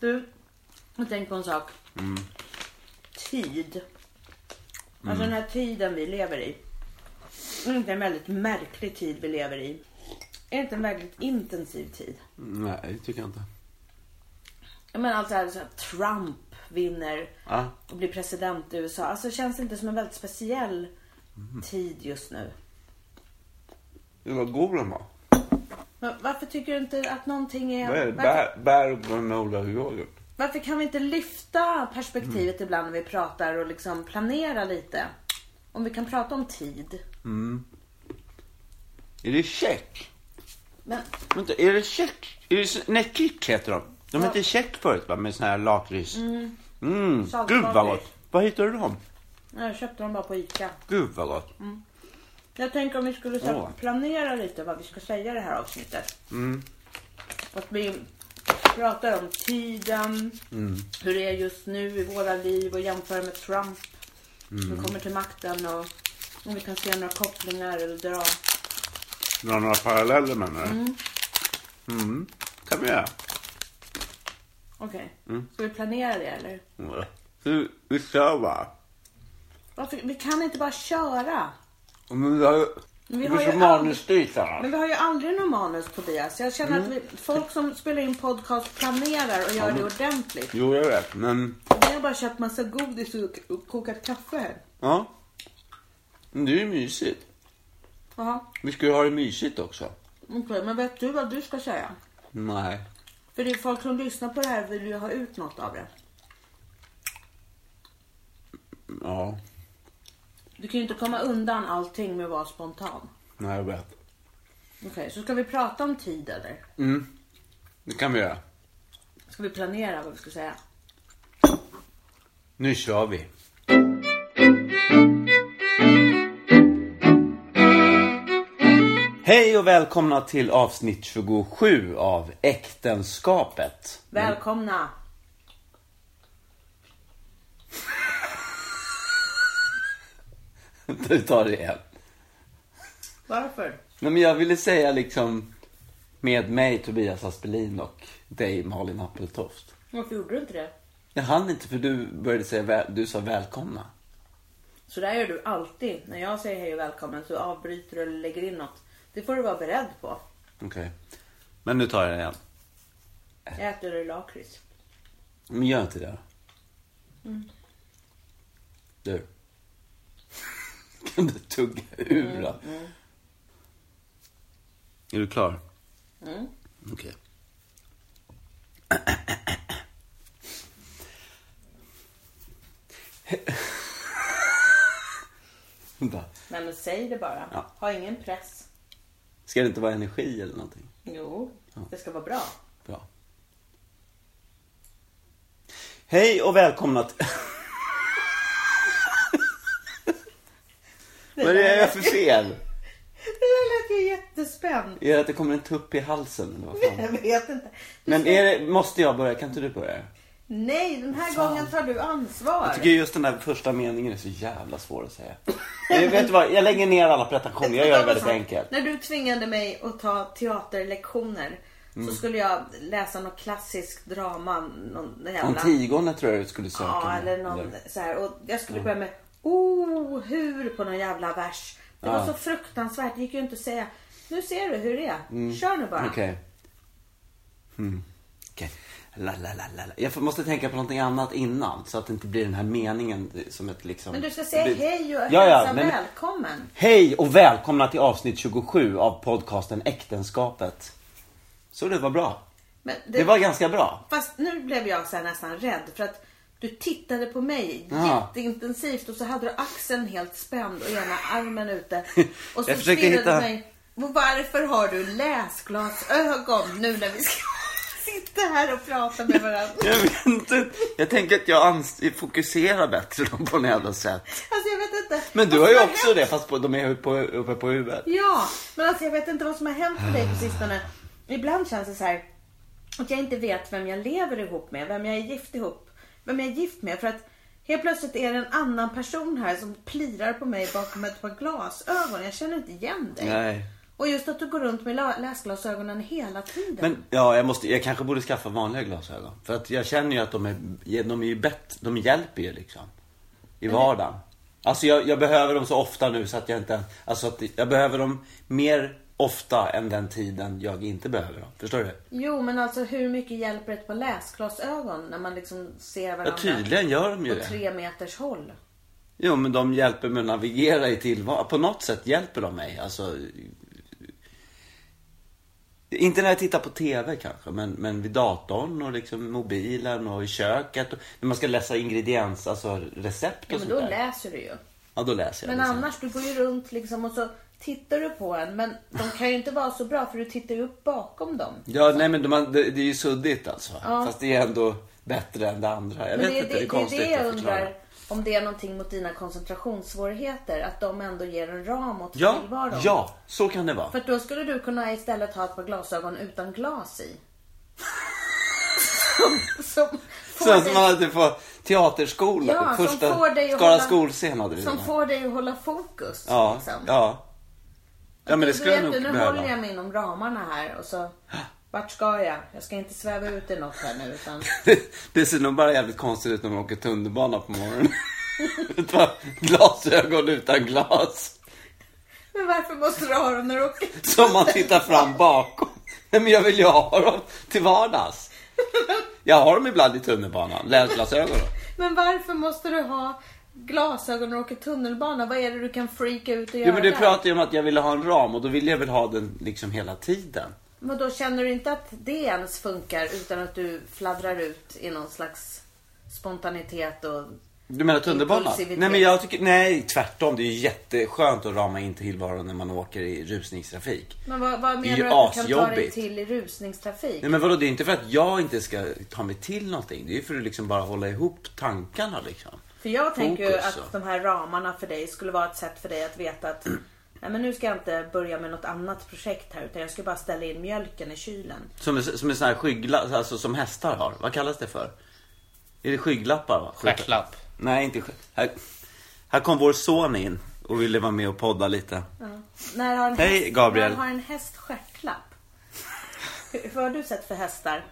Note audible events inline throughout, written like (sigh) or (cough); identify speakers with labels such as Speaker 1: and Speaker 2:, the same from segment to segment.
Speaker 1: Du, jag tänker på en sak.
Speaker 2: Mm.
Speaker 1: Tid.
Speaker 2: Mm.
Speaker 1: Alltså den här tiden vi lever i. Är inte en väldigt märklig tid vi lever i? Är det inte en väldigt intensiv tid?
Speaker 2: Nej, tycker jag inte.
Speaker 1: Jag menar alltså här, så här, Trump vinner
Speaker 2: Ah,
Speaker 1: och blir president i USA. Alltså känns det inte som en väldigt speciell
Speaker 2: Mm.
Speaker 1: tid just nu?
Speaker 2: det var god den var.
Speaker 1: Men varför tycker du inte att någonting är...
Speaker 2: Vad är det?
Speaker 1: varför,
Speaker 2: Bär, bär och granola och yoghurt.
Speaker 1: varför kan vi inte lyfta perspektivet
Speaker 2: Mm.
Speaker 1: ibland när vi pratar och liksom planera lite? Om vi kan prata om tid.
Speaker 2: Är det check?
Speaker 1: Men
Speaker 2: Vänta, är det check? Är det, s- nej, kick heter de. De hette check förut va, med sån här lakrits. Mm. Gud vad
Speaker 1: Saltlakrits.
Speaker 2: gott. Var hittade du dem?
Speaker 1: nej, jag köpte dem bara på ICA.
Speaker 2: Gud vad gott.
Speaker 1: Jag tänker om vi skulle så här,
Speaker 2: Åh.
Speaker 1: planera lite vad vi ska säga i det här avsnittet. Att vi pratar om tiden, hur det är just nu i våra liv och jämför med Trump. Som kommer till makten och om vi kan se några kopplingar eller dra.
Speaker 2: Du har några paralleller med mig? Mm. mm. kan vi göra.
Speaker 1: Okej, ska vi planera det eller?
Speaker 2: Mm. Vi, vi kör bara.
Speaker 1: Varför? Vi kan inte bara köra.
Speaker 2: Men vi har ju...
Speaker 1: Men
Speaker 2: Vi
Speaker 1: vi
Speaker 2: har
Speaker 1: har
Speaker 2: så
Speaker 1: ju
Speaker 2: manusstyrt
Speaker 1: Men
Speaker 2: här.
Speaker 1: vi har ju aldrig någon manus Tobias. Jag känner att vi, folk som spelar in podcast planerar och gör det ordentligt.
Speaker 2: Jo, jag vet, men...
Speaker 1: Vi har bara köpt massa godis och och kokat kaffe här.
Speaker 2: Ja. Men det är ju mysigt.
Speaker 1: Jaha,
Speaker 2: Vi ska ju ha det mysigt också.
Speaker 1: okej. Men vet du vad du ska säga?
Speaker 2: Nej.
Speaker 1: För det är folk som lyssnar på det här vill ju ha ut något av det.
Speaker 2: Ja.
Speaker 1: Du kan ju inte komma undan allting med att vara spontan.
Speaker 2: Nej, jag vet.
Speaker 1: Okej, så ska vi prata om tid eller?
Speaker 2: Mm. Det kan vi göra.
Speaker 1: Ska vi planera vad vi ska säga?
Speaker 2: Nu kör vi. Hej och välkomna till avsnitt 27 av Äktenskapet. (laughs)
Speaker 1: Välkomna!
Speaker 2: Vi tar det igen.
Speaker 1: Varför?
Speaker 2: Nej, men jag ville säga liksom med mig Tobias Aspelin och dig Malin Appeltoft.
Speaker 1: Varför gjorde du inte det?
Speaker 2: Jag hann inte för du började säga, väl, du sa välkomna.
Speaker 1: Så där gör du alltid. När jag säger hej och välkommen så avbryter du eller lägger in något. Det får du vara beredd på.
Speaker 2: Okej. Men nu tar jag det igen.
Speaker 1: Äter du lakrits?
Speaker 2: Men gör inte det. Du. Kan du tugga ur då? Är du klar?
Speaker 1: Mm.
Speaker 2: Okej. (laughs) Vänta.
Speaker 1: Nej men säg det bara.
Speaker 2: Ja.
Speaker 1: Ha ingen press.
Speaker 2: Ska det inte vara energi eller någonting?
Speaker 1: Jo, det ska vara bra.
Speaker 2: Bra. Hej och välkomna till... Vad är det jag gör för fel?
Speaker 1: Det där lät ju jättespänt.
Speaker 2: Är det att det kommer en tupp i halsen eller vad
Speaker 1: Jag
Speaker 2: fan?
Speaker 1: vet inte. Du
Speaker 2: Men
Speaker 1: ska-
Speaker 2: är det, måste jag börja? Kan inte du börja?
Speaker 1: Nej, den här gången tar du ansvar.
Speaker 2: Jag tycker just den där första meningen är så jävla svår att säga. Jag, vet du vad, jag lägger ner alla pretensioner. Jag gör det väldigt enkelt.
Speaker 1: När du tvingade mig att ta teaterlektioner
Speaker 2: Mm.
Speaker 1: så skulle jag läsa något klassiskt drama. Någon jävla...
Speaker 2: Antigone tror jag du skulle söka.
Speaker 1: Ja,
Speaker 2: med.
Speaker 1: eller någon så här. Och jag skulle börja med oh, hur på någon jävla vers. Det var
Speaker 2: Ja.
Speaker 1: så fruktansvärt. Det gick ju inte att säga. Nu ser du hur det är. Kör nu bara.
Speaker 2: Mm. Okej. Hmm. Okej. La, la, la, la, la. Jag får- måste tänka på någonting annat innan så att det inte blir den här meningen som ett liksom...
Speaker 1: Men du ska säga
Speaker 2: det-
Speaker 1: hej och
Speaker 2: ja, ja,
Speaker 1: hälsa
Speaker 2: men...
Speaker 1: välkommen.
Speaker 2: Hej och välkomna till avsnitt 27 av podcasten Äktenskapet. Så det var bra.
Speaker 1: Men
Speaker 2: Det, var ganska bra.
Speaker 1: Fast nu blev jag så här nästan rädd för att du tittade på mig
Speaker 2: Ja.
Speaker 1: jätteintensivt och så hade du axeln helt spänd och ena armen
Speaker 2: (laughs)
Speaker 1: ute. Och så
Speaker 2: Jag försöker
Speaker 1: stirrade
Speaker 2: hitta-
Speaker 1: du mig. "Och Varför har du läsglasögon nu när vi ska (laughs) sitta här och prata med varandra?
Speaker 2: Jag vet inte. Jag tänker att jag ans- fokuserar bättre på något sätt.
Speaker 1: Alltså jag vet inte.
Speaker 2: Men du
Speaker 1: vad
Speaker 2: har ju
Speaker 1: som
Speaker 2: också
Speaker 1: hänt.
Speaker 2: det fast på, de är på, uppe på huvudet.
Speaker 1: Ja, men alltså jag vet inte vad som har hänt med dig på sistone. Ibland känns det så här att jag inte vet vem jag lever ihop med, vem jag är gift ihop, vem jag är gift med. För att helt plötsligt är det en annan person här som plirar på mig bakom ett par glasögon. Jag känner inte igen dig.
Speaker 2: Nej.
Speaker 1: Och just att du går runt med la- läsglasögonen hela tiden.
Speaker 2: Men ja, jag, måste, jag kanske borde skaffa vanliga glasögon. För att jag känner ju att de, är, de, är ju bett, de hjälper ju liksom. I vardagen. Alltså jag, jag behöver dem så ofta nu så att jag inte... Alltså att jag behöver dem mer ofta än den tiden jag inte behöver dem. Förstår du?
Speaker 1: Jo, men alltså hur mycket hjälper ett par läsglasögon när man liksom ser varandra
Speaker 2: Ja, tydligen gör de ju
Speaker 1: på
Speaker 2: det.
Speaker 1: tre meters håll?
Speaker 2: Jo, men de hjälper mig att navigera i tillvaron. På något sätt hjälper de mig. Alltså... Inte när jag tittar på TV kanske, men, men vid datorn och liksom mobilen och i köket. Och, när man ska läsa ingrediens, alltså recept och
Speaker 1: Ja, men
Speaker 2: sånt
Speaker 1: då
Speaker 2: där.
Speaker 1: läser du ju.
Speaker 2: ja, då läser jag. liksom.
Speaker 1: Men
Speaker 2: det sen.
Speaker 1: annars, du går ju runt liksom och så tittar du på en. Men de kan ju inte vara så bra för du tittar ju upp bakom dem.
Speaker 2: Ja, nej men de, man- det, det är ju suddigt alltså. Fast det är ändå bättre än det andra. Jag
Speaker 1: Men
Speaker 2: vet inte, det är
Speaker 1: det,
Speaker 2: konstigt
Speaker 1: det jag
Speaker 2: att förklara.
Speaker 1: undrar. Om det är någonting mot dina koncentrationssvårigheter. Att de ändå ger en ram åt
Speaker 2: Ja,
Speaker 1: tillvaron.
Speaker 2: ja, så kan det vara.
Speaker 1: För att då skulle du kunna istället ha ett par glasögon utan glas i. som, som, får
Speaker 2: Så att
Speaker 1: dig-
Speaker 2: man hade på teaterskola.
Speaker 1: Ja, som
Speaker 2: första
Speaker 1: får dig att
Speaker 2: Skara
Speaker 1: hålla-
Speaker 2: skolscen hade vi
Speaker 1: som
Speaker 2: den.
Speaker 1: får dig att hålla fokus.
Speaker 2: Ja,
Speaker 1: liksom. Alltså,
Speaker 2: ja. Ja, men det skulle jag
Speaker 1: du,
Speaker 2: nog
Speaker 1: vet, Nu
Speaker 2: behöva.
Speaker 1: håller jag mig inom ramarna här och
Speaker 2: (gasps)
Speaker 1: så vart ska jag? Jag ska inte sväva ut i något här nu utan
Speaker 2: (laughs) Det ser nog bara jävligt konstigt ut när man åker tunnelbana på morgonen. (laughs) Ett par Glasögon utan glas.
Speaker 1: Men varför måste du ha dem när du åker?
Speaker 2: Som man tittar fram bakom. Nej, men jag vill ju ha dem till vardags. Jag har dem ibland i tunnelbanan. Läsglasögon.
Speaker 1: Men varför måste du ha glasögon när du åker tunnelbana? Vad är det du kan freaka ut och göra?
Speaker 2: Jo, men du
Speaker 1: där?
Speaker 2: pratade ju om att jag ville ha en ram och då ville jag väl ha den liksom hela tiden.
Speaker 1: Men då känner du inte att det ens funkar utan att du fladdrar ut i någon slags spontanitet och...
Speaker 2: Du menar tunnelbanan?
Speaker 1: Impulsivitet.
Speaker 2: Nej, men jag tycker, nej, tvärtom. Det är ju jätteskönt att rama in tillvaron när man åker i rusningstrafik.
Speaker 1: Men vad, vad
Speaker 2: Det
Speaker 1: menar
Speaker 2: är ju
Speaker 1: du att du kan ta dig
Speaker 2: asjobbigt.
Speaker 1: till i rusningstrafik?
Speaker 2: Nej men vadå, det är inte för att jag inte ska ta mig till någonting. Det är ju för att liksom bara hålla ihop tankarna liksom.
Speaker 1: För jag tänker ju
Speaker 2: Fokus, alltså.
Speaker 1: att
Speaker 2: ja.
Speaker 1: de här ramarna för dig skulle vara ett sätt för dig att veta att (clears throat) Nej men nu ska jag inte börja med något annat projekt här utan jag ska bara ställa in mjölken i kylen.
Speaker 2: Som en, som en sån här skygglapp, alltså som hästar har. Vad kallas det för? Är det skygglappar? Va?
Speaker 3: Stjärtlapp.
Speaker 2: Nej, inte sky- här, här kom vår son in och ville vara med och podda lite.
Speaker 1: När har en
Speaker 2: Hej,
Speaker 1: häst,
Speaker 2: Gabriel.
Speaker 1: När har en häst stjärtlapp? Hur- Vad har du sett för hästar?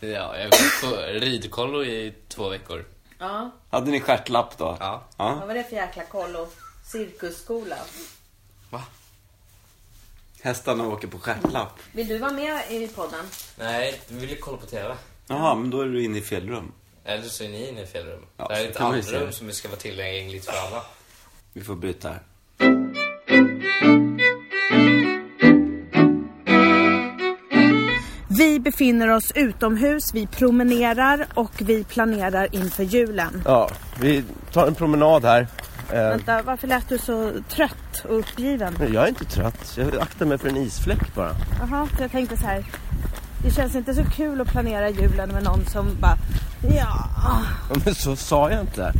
Speaker 3: Ja, jag var på ridkollo i två veckor.
Speaker 1: Ja,
Speaker 2: Hade ni stjärtlapp då?
Speaker 3: Ja.
Speaker 1: vad var det för jäkla kollo? Cirkusskola.
Speaker 3: Va?
Speaker 2: Hästarna åker på stjärtlapp.
Speaker 1: Vill du vara med i podden?
Speaker 3: Nej, vi ville kolla på TV.
Speaker 2: Jaha, men då är du inne i fel rum.
Speaker 3: Eller så är ni inne i fel rum.
Speaker 2: Ja,
Speaker 3: det här
Speaker 2: så
Speaker 3: är ett
Speaker 2: kan man ju
Speaker 3: annat
Speaker 2: säga.
Speaker 3: rum som ska vara tillgängligt för alla.
Speaker 2: Vi får byta här.
Speaker 1: Vi befinner oss utomhus, vi promenerar och vi planerar inför julen.
Speaker 4: Ja, vi tar en promenad här. Eh,
Speaker 1: Vänta, varför lät du så trött och uppgiven?
Speaker 4: jag är inte trött. Jag aktar mig för en isfläck bara.
Speaker 1: Jaha, för jag tänkte så här. Det känns inte så kul att planera julen med någon som bara ja.
Speaker 4: Ja, Men så sa jag inte.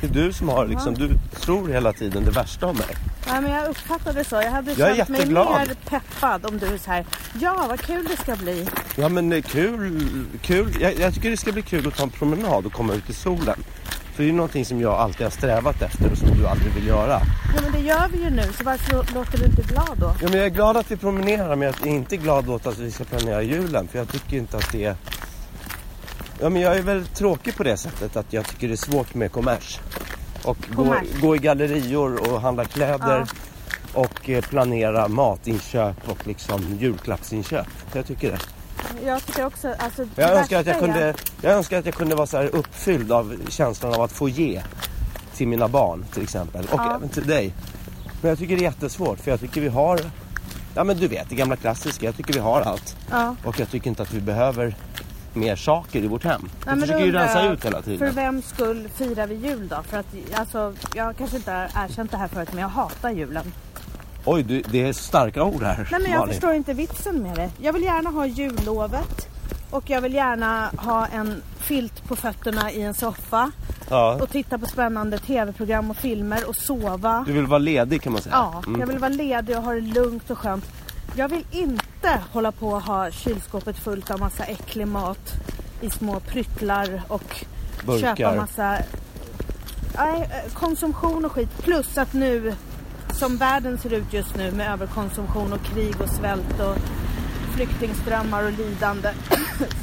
Speaker 4: Det är du som har liksom, du tror hela tiden det värsta om mig.
Speaker 1: Nej, men jag uppfattade det så. Jag hade
Speaker 4: Jag är
Speaker 1: känt mig
Speaker 4: jätteglad.
Speaker 1: mer peppad om du är så här. Ja, vad kul det ska bli.
Speaker 4: Ja men eh, kul, kul. Jag, jag tycker det ska bli kul att ta en promenad och komma ut i solen. För det är någonting som jag alltid har strävat efter och som du aldrig vill göra.
Speaker 1: Ja, men det gör vi ju nu. Så varför låter du inte glad då?
Speaker 4: Ja, men jag är glad att vi promenerar men jag är inte glad åt att vi ska planera julen för jag tycker inte att det är... Ja, men jag är väldigt tråkig på det sättet att jag tycker det är svårt med kommers. Och gå,
Speaker 1: Kommers.
Speaker 4: gå i gallerior och handla kläder och eh, planera matinköp och liksom julklappsinköp. Jag tycker det.
Speaker 1: Jag tycker också, alltså. det
Speaker 4: Jag önskar, att jag,
Speaker 1: värsta är-
Speaker 4: kunde, jag önskar att jag kunde vara så här uppfylld av känslan av att få ge till mina barn till exempel. Och
Speaker 1: Ja.
Speaker 4: även till dig. Men jag tycker det är jättesvårt för jag tycker vi har, ja men du vet det gamla klassiska, jag tycker vi har allt.
Speaker 1: Ja.
Speaker 4: Och jag tycker inte att vi behöver mer saker i vårt hem.
Speaker 1: Nej,
Speaker 4: vi
Speaker 1: men
Speaker 4: försöker ju
Speaker 1: då undrar
Speaker 4: rensa
Speaker 1: jag,
Speaker 4: ut hela
Speaker 1: För
Speaker 4: tiden.
Speaker 1: vems skull firar vi jul då? För att alltså, jag kanske inte har erkänt det här förut, men jag hatar julen.
Speaker 4: Oj, du, det är starka ord här
Speaker 1: Nej men jag
Speaker 4: Malin.
Speaker 1: förstår inte vitsen med det. Jag vill gärna ha jullovet och jag vill gärna ha en filt (laughs) på fötterna i en soffa
Speaker 4: Ja,
Speaker 1: och titta på spännande tv-program och filmer och sova.
Speaker 4: du vill vara ledig kan man säga. Mm.
Speaker 1: Ja, jag vill vara ledig och ha det lugnt och skönt. Jag vill inte hålla på och ha kylskåpet fullt av massa äcklig mat i små pryttlar och
Speaker 4: Burkar.
Speaker 1: köpa massa nej, eh, konsumtion och skit. Plus att nu
Speaker 5: som världen ser ut just nu med överkonsumtion och krig och svält och flyktingströmmar och lidande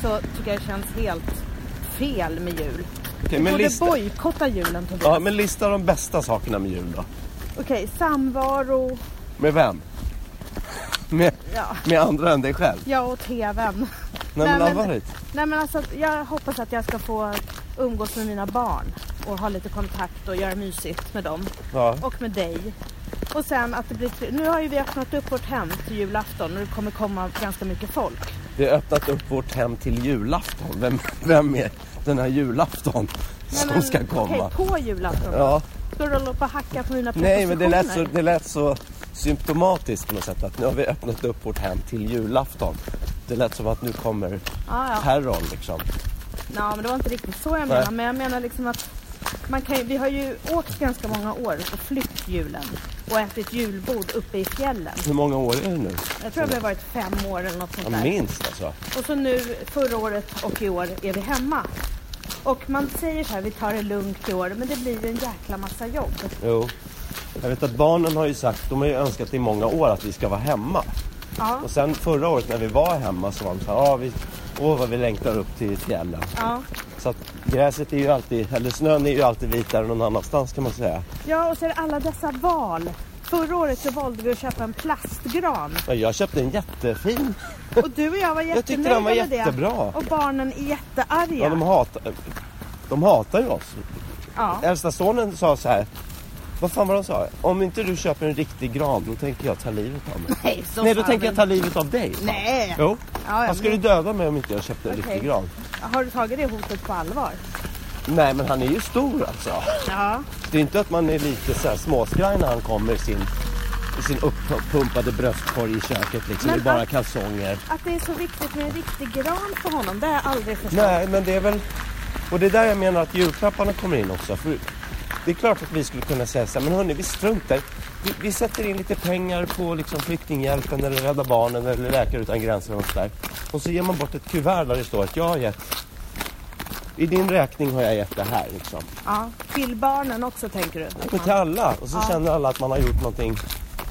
Speaker 5: så tycker jag det känns helt fel med jul.
Speaker 4: Okej,
Speaker 5: Vi
Speaker 4: men
Speaker 5: borde
Speaker 4: lista,
Speaker 5: bojkotta julen Tobias.
Speaker 4: ja, men lista de bästa sakerna med jul då.
Speaker 5: Okej, samvaro,
Speaker 4: Med vem? Med,
Speaker 5: ja,
Speaker 4: med andra än dig själv?
Speaker 5: jag och tvn.
Speaker 4: Nej, men
Speaker 5: men-
Speaker 4: allvarligt.
Speaker 5: Nej men alltså jag hoppas att jag ska få umgås med mina barn och ha lite kontakt och göra mysigt med dem
Speaker 4: Ja.
Speaker 5: och med dig. Och sen att det blir tre- Nu har ju vi öppnat upp vårt hem till julafton och det kommer komma ganska mycket folk.
Speaker 4: Vi har öppnat upp vårt hem till julafton. Vem, vem är den här julafton
Speaker 5: Nej,
Speaker 4: som
Speaker 5: men,
Speaker 4: ska komma?
Speaker 5: Okej, på julafton.
Speaker 4: Ja.
Speaker 5: Står du och håller på och hackar på mina
Speaker 4: Nej, men det lät, så,
Speaker 5: prepositioner?
Speaker 4: det lät så symptomatiskt på något sätt att nu har vi öppnat upp vårt hem till julafton. Det lät som att nu kommer
Speaker 5: Ah, Ja, ja.
Speaker 4: terrorn liksom.
Speaker 5: Nej, men det var inte riktigt så jag menar. Men jag menar liksom att man kan, ju- vi har ju åkt ganska många år och flytt julen och ätit julbord uppe i fjällen.
Speaker 4: Hur många år är det nu?
Speaker 5: Jag tror att vi har varit fem år eller något sånt
Speaker 4: Ja,
Speaker 5: där.
Speaker 4: minst alltså.
Speaker 5: Och så nu förra året och i år är vi hemma. Och man säger så här, vi tar det lugnt i år, men det blir ju en jäkla massa jobb.
Speaker 4: Jo. Jag vet att barnen har ju sagt, de har ju önskat i många år att vi ska vara hemma.
Speaker 5: Ja,
Speaker 4: Och sen förra året när vi var hemma så var de så här, "Ah, vi, åh vad vi längtar upp till fjällen.
Speaker 5: ja.
Speaker 4: Så att gräset är ju alltid, eller snön är ju alltid vitare någon annanstans kan man säga.
Speaker 5: ja, och så är det alla dessa val. Förra året så valde vi att köpa en plastgran
Speaker 4: Men jag köpte en jättefin.
Speaker 5: och du och jag var
Speaker 4: Jag tyckte
Speaker 5: jättenöjda
Speaker 4: den var
Speaker 5: med det.
Speaker 4: jättebra.
Speaker 5: Och barnen är jättearga.
Speaker 4: Ja, de, hatar, de hatar ju oss.
Speaker 5: Ja.
Speaker 4: Äldsta sonen sa så här. Vad fan var de sa? Om inte du köper en riktig gran då tänker jag ta livet av mig.
Speaker 5: Nej, så
Speaker 4: Nej, då
Speaker 5: fan
Speaker 4: tänker jag
Speaker 5: vill-
Speaker 4: ta livet av dig. sa han.
Speaker 5: Nej.
Speaker 4: Jo.
Speaker 5: Ja, ja,
Speaker 4: Han skulle
Speaker 5: men-
Speaker 4: döda mig om inte jag köpte en
Speaker 5: Okej.
Speaker 4: riktig gran.
Speaker 5: Har du tagit det hotet på allvar?
Speaker 4: Nej, men han är ju stor alltså.
Speaker 5: Ja.
Speaker 4: Det är inte att man är lite så här småskraj när han kommer i sin, i sin uppumpade bröstkorg i köket liksom.
Speaker 5: Men
Speaker 4: Det är bara
Speaker 5: att-
Speaker 4: kalsonger.
Speaker 5: Att det är så viktigt med en riktig gran för honom, det har jag aldrig förstått.
Speaker 4: Nej, men det är väl... Och det är där jag menar att julklapparna kommer in också. För det är klart att vi skulle kunna säga så här, men hörni, vi struntar. Vi, vi sätter in lite pengar på liksom flyktinghjälpen eller Rädda Barnen eller Läkare Utan Gränser och sådär. Och så ger man bort ett kuvert där det står att jag har gett... I din räkning har jag gett det här liksom.
Speaker 5: Ja. Till barnen också tänker du? Att
Speaker 4: Men
Speaker 5: man-
Speaker 4: till alla. Och så känner alla att man har gjort någonting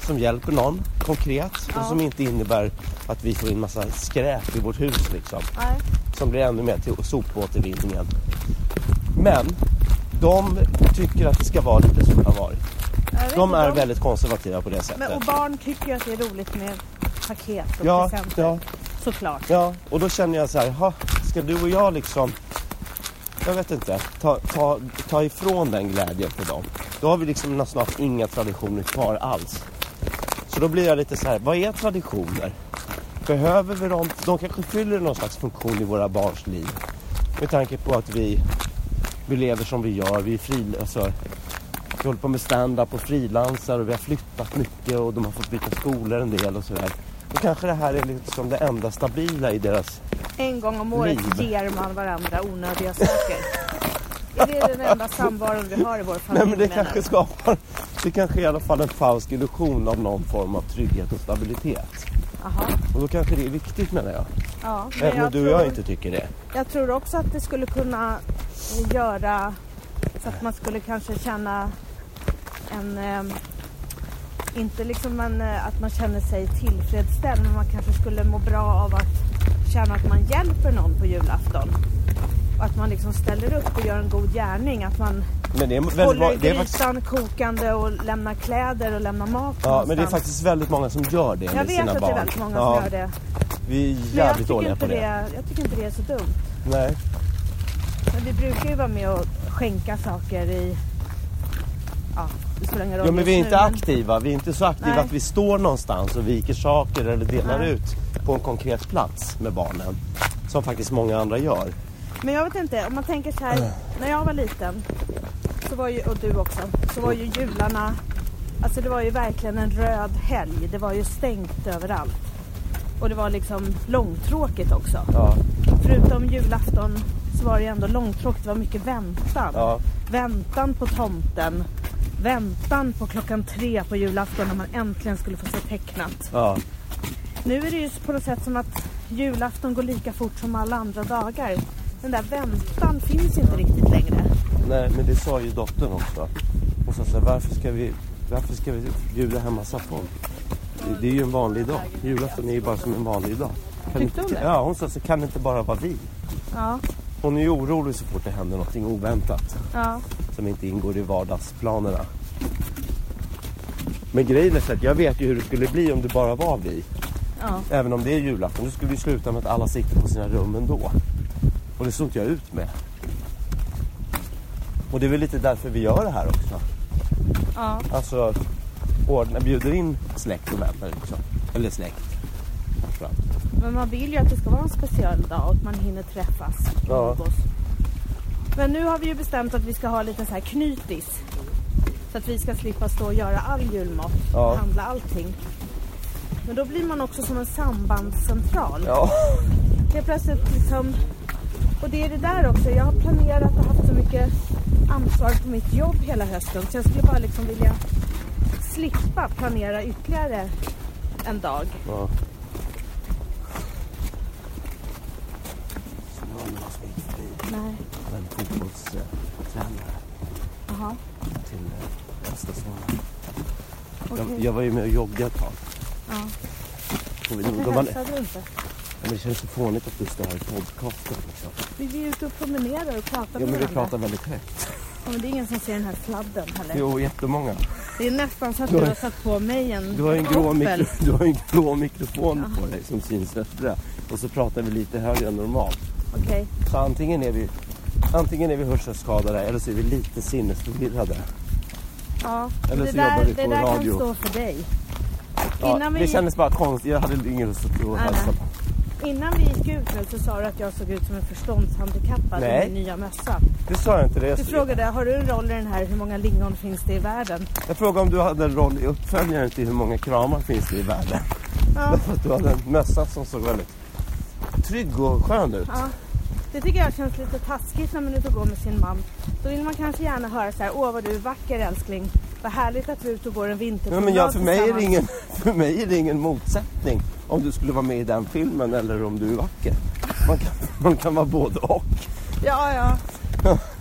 Speaker 4: som hjälper någon konkret och som inte innebär att vi får in massa skräp i vårt hus liksom
Speaker 5: Nej.
Speaker 4: som blir ännu mer till sopåtervinningen. Men de tycker att det ska vara lite som det har varit.
Speaker 5: Jag vet
Speaker 4: De
Speaker 5: inte,
Speaker 4: är väldigt konservativa på det sättet.
Speaker 5: Men, och barn tycker ju att det är roligt med paket och
Speaker 4: ja,
Speaker 5: presenter.
Speaker 4: ja,
Speaker 5: Såklart.
Speaker 4: ja, och då känner jag så här, "Ha, ska du och jag liksom, jag vet inte, ta, ta, ta ifrån den glädjen på dem. Då har vi liksom nästan haft inga traditioner kvar alls. Så då blir jag lite så här, vad är traditioner? Behöver vi dem? De kanske fyller någon slags funktion i våra barns liv. Med tanke på att vi, vi lever som vi gör, vi är fri, alltså, vi håller på med stand-up och frilansar och vi har flyttat mycket och de har fått byta skolor en del och sådär. Då kanske det här är liksom det enda stabila i deras...
Speaker 5: En gång om året
Speaker 4: Liv.
Speaker 5: ger man varandra onödiga saker. är det den enda samvaron vi har i vår familj?
Speaker 4: Nej men det
Speaker 5: menar
Speaker 4: kanske
Speaker 5: du?
Speaker 4: skapar... Det kanske är i alla fall en falsk illusion av någon form av trygghet och stabilitet.
Speaker 5: Jaha.
Speaker 4: Och då kanske det är viktigt menar jag.
Speaker 5: Ja, men
Speaker 4: Även om
Speaker 5: jag,
Speaker 4: du och
Speaker 5: tror,
Speaker 4: jag inte tycker det.
Speaker 5: jag tror också att det skulle kunna eh, göra så att man skulle kanske känna en... ehm, inte liksom en, eh, att man känner sig tillfredsställd men man kanske skulle må bra av att känna att man hjälper någon på julafton. Och att man liksom ställer upp och gör en god gärning. Att man
Speaker 4: Men det är, väldigt,
Speaker 5: håller
Speaker 4: det är
Speaker 5: grytan
Speaker 4: faktiskt
Speaker 5: kokande och lämnar kläder och lämnar mat
Speaker 4: Ja, men det är
Speaker 5: någonstans.
Speaker 4: faktiskt väldigt många som gör det
Speaker 5: Jag
Speaker 4: med
Speaker 5: vet
Speaker 4: sina
Speaker 5: att
Speaker 4: barn.
Speaker 5: det är väldigt många
Speaker 4: ja,
Speaker 5: som gör det.
Speaker 4: Vi är
Speaker 5: Men jag
Speaker 4: jävligt
Speaker 5: tycker,
Speaker 4: dåliga på
Speaker 5: inte
Speaker 4: det.
Speaker 5: det, jag tycker inte det är så dumt.
Speaker 4: Nej.
Speaker 5: Men vi brukar ju vara med och skänka saker i... Ja, det spelar ingen roll
Speaker 4: Ja, men
Speaker 5: just
Speaker 4: vi är
Speaker 5: nu,
Speaker 4: inte aktiva. Vi är inte så aktiva
Speaker 5: Nej.
Speaker 4: att vi står någonstans och viker saker eller delar
Speaker 5: Nej.
Speaker 4: ut på en konkret plats med barnen. Som faktiskt många andra gör.
Speaker 5: Men jag vet inte, om man tänker så
Speaker 4: Mm.
Speaker 5: här. När jag var liten, så var ju, och du också, så var ju jularna... Alltså det var ju verkligen en röd helg. Det var ju stängt överallt. Och det var liksom långtråkigt också.
Speaker 4: Ja,
Speaker 5: Förutom julafton så var det ju ändå långtråkigt. Det var mycket väntan.
Speaker 4: ja.
Speaker 5: Väntan på tomten. Väntan på klockan tre på julafton när man äntligen skulle få se tecknat.
Speaker 4: ja.
Speaker 5: Nu är det ju på något sätt som att julafton går lika fort som alla andra dagar. Den där väntan finns inte riktigt längre.
Speaker 4: Nej, men det sa ju dottern också. Hon sa så här, varför ska vi Varför ska vi bjuda hem massa folk? Det- Det är ju en vanlig dag. Julafton är ju bara som en vanlig dag. Kan
Speaker 5: Tyckte
Speaker 4: ni-
Speaker 5: hon det?
Speaker 4: Ja, hon sa så kan det inte bara vara vi.
Speaker 5: Ja,
Speaker 4: Hon är ju orolig så fort det händer någonting oväntat
Speaker 5: ja.
Speaker 4: som inte ingår i vardagsplanerna. Men grejen är så att jag vet ju hur det skulle bli om det bara var vi.
Speaker 5: Ja.
Speaker 4: Även om det är julafton. Då skulle det sluta med att alla sitter på sina rum ändå. Och det såg inte jag ut med. Och det är väl lite därför vi gör det här också.
Speaker 5: ja.
Speaker 4: Alltså, ordna, bjuder in släkt och vänner liksom. Eller släkt. framförallt.
Speaker 5: Men man vill ju att det ska vara en speciell dag och att man hinner träffas och
Speaker 4: Ja.
Speaker 5: umgås. Men nu har vi ju bestämt att vi ska ha lite så här knytis. Så att vi ska slippa stå och göra all julmat
Speaker 4: Ja.
Speaker 5: och handla allting. Men då blir man också som en sambandscentral.
Speaker 4: Ja.
Speaker 5: Helt plötsligt liksom... Och det är det där också. Jag har planerat och haft så mycket ansvar på mitt jobb hela hösten. Så jag skulle bara liksom vilja slippa planera ytterligare en dag.
Speaker 4: ja.
Speaker 5: Nej.
Speaker 4: En fotbollstränare
Speaker 5: Jaha.
Speaker 4: till eh, äldsta sonen.
Speaker 5: Okej.
Speaker 4: Jag, jag var ju med och joggade ett tag.
Speaker 5: Ja.
Speaker 4: Och vi- då
Speaker 5: Varför
Speaker 4: man,
Speaker 5: hälsar du inte?
Speaker 4: Ja, men det känns så fånigt att du står här i podcasten. Liksom.
Speaker 5: Vi är ute och promenerar och pratar
Speaker 4: Ja,
Speaker 5: med
Speaker 4: men vi
Speaker 5: varandra.
Speaker 4: pratar väldigt högt.
Speaker 5: Ja, men det är ingen som ser den här sladden heller.
Speaker 4: Jo, jättemånga.
Speaker 5: Det är nästan så att
Speaker 4: Du
Speaker 5: du
Speaker 4: har-
Speaker 5: har satt på mig en
Speaker 4: Du har ju en grå,
Speaker 5: Opel.
Speaker 4: mikro, du har ju en grå mikrofon på dig som syns rätt bra. Och så pratar vi lite högre än normalt.
Speaker 5: Okej.
Speaker 4: Så antingen är vi, antingen är vi hörselskadade eller så är vi lite sinnesförvirrade.
Speaker 5: Ja.
Speaker 4: Eller
Speaker 5: det
Speaker 4: så jobbar
Speaker 5: där,
Speaker 4: vi på
Speaker 5: det där
Speaker 4: radio.
Speaker 5: kan stå för dig.
Speaker 4: Ja,
Speaker 5: Innan
Speaker 4: Det
Speaker 5: vi-
Speaker 4: kändes bara konstigt. Jag hade ingen lust att och
Speaker 5: Nej,
Speaker 4: hälsa
Speaker 5: nej.
Speaker 4: på.
Speaker 5: Innan vi gick ut nu så sa du att jag såg ut som en förståndshandikappad
Speaker 4: Nej.
Speaker 5: i min nya mössa.
Speaker 4: Det sa jag inte. Det.
Speaker 5: Du frågade, har du en roll i den här? Hur många lingon finns det i världen?
Speaker 4: Jag frågade om du hade en roll i uppföljaren till hur många kramar finns det i världen. (laughs)
Speaker 5: Ja.
Speaker 4: Därför att du hade en mössa som såg väldigt trygg och skön ut.
Speaker 5: Ja, det tycker jag känns lite taskigt när man är ute och går med sin man. Då vill man kanske gärna höra så här, åh vad du är vacker älskling. Vad härligt att du är ute och går en
Speaker 4: Ja,
Speaker 5: vinterpromenad
Speaker 4: men jag, för, mig är det
Speaker 5: tillsammans."
Speaker 4: ingen, för mig är det ingen motsättning om du skulle vara med i den filmen eller om du är vacker. Man kan, man kan vara både och. (laughs)
Speaker 5: Ja, ja.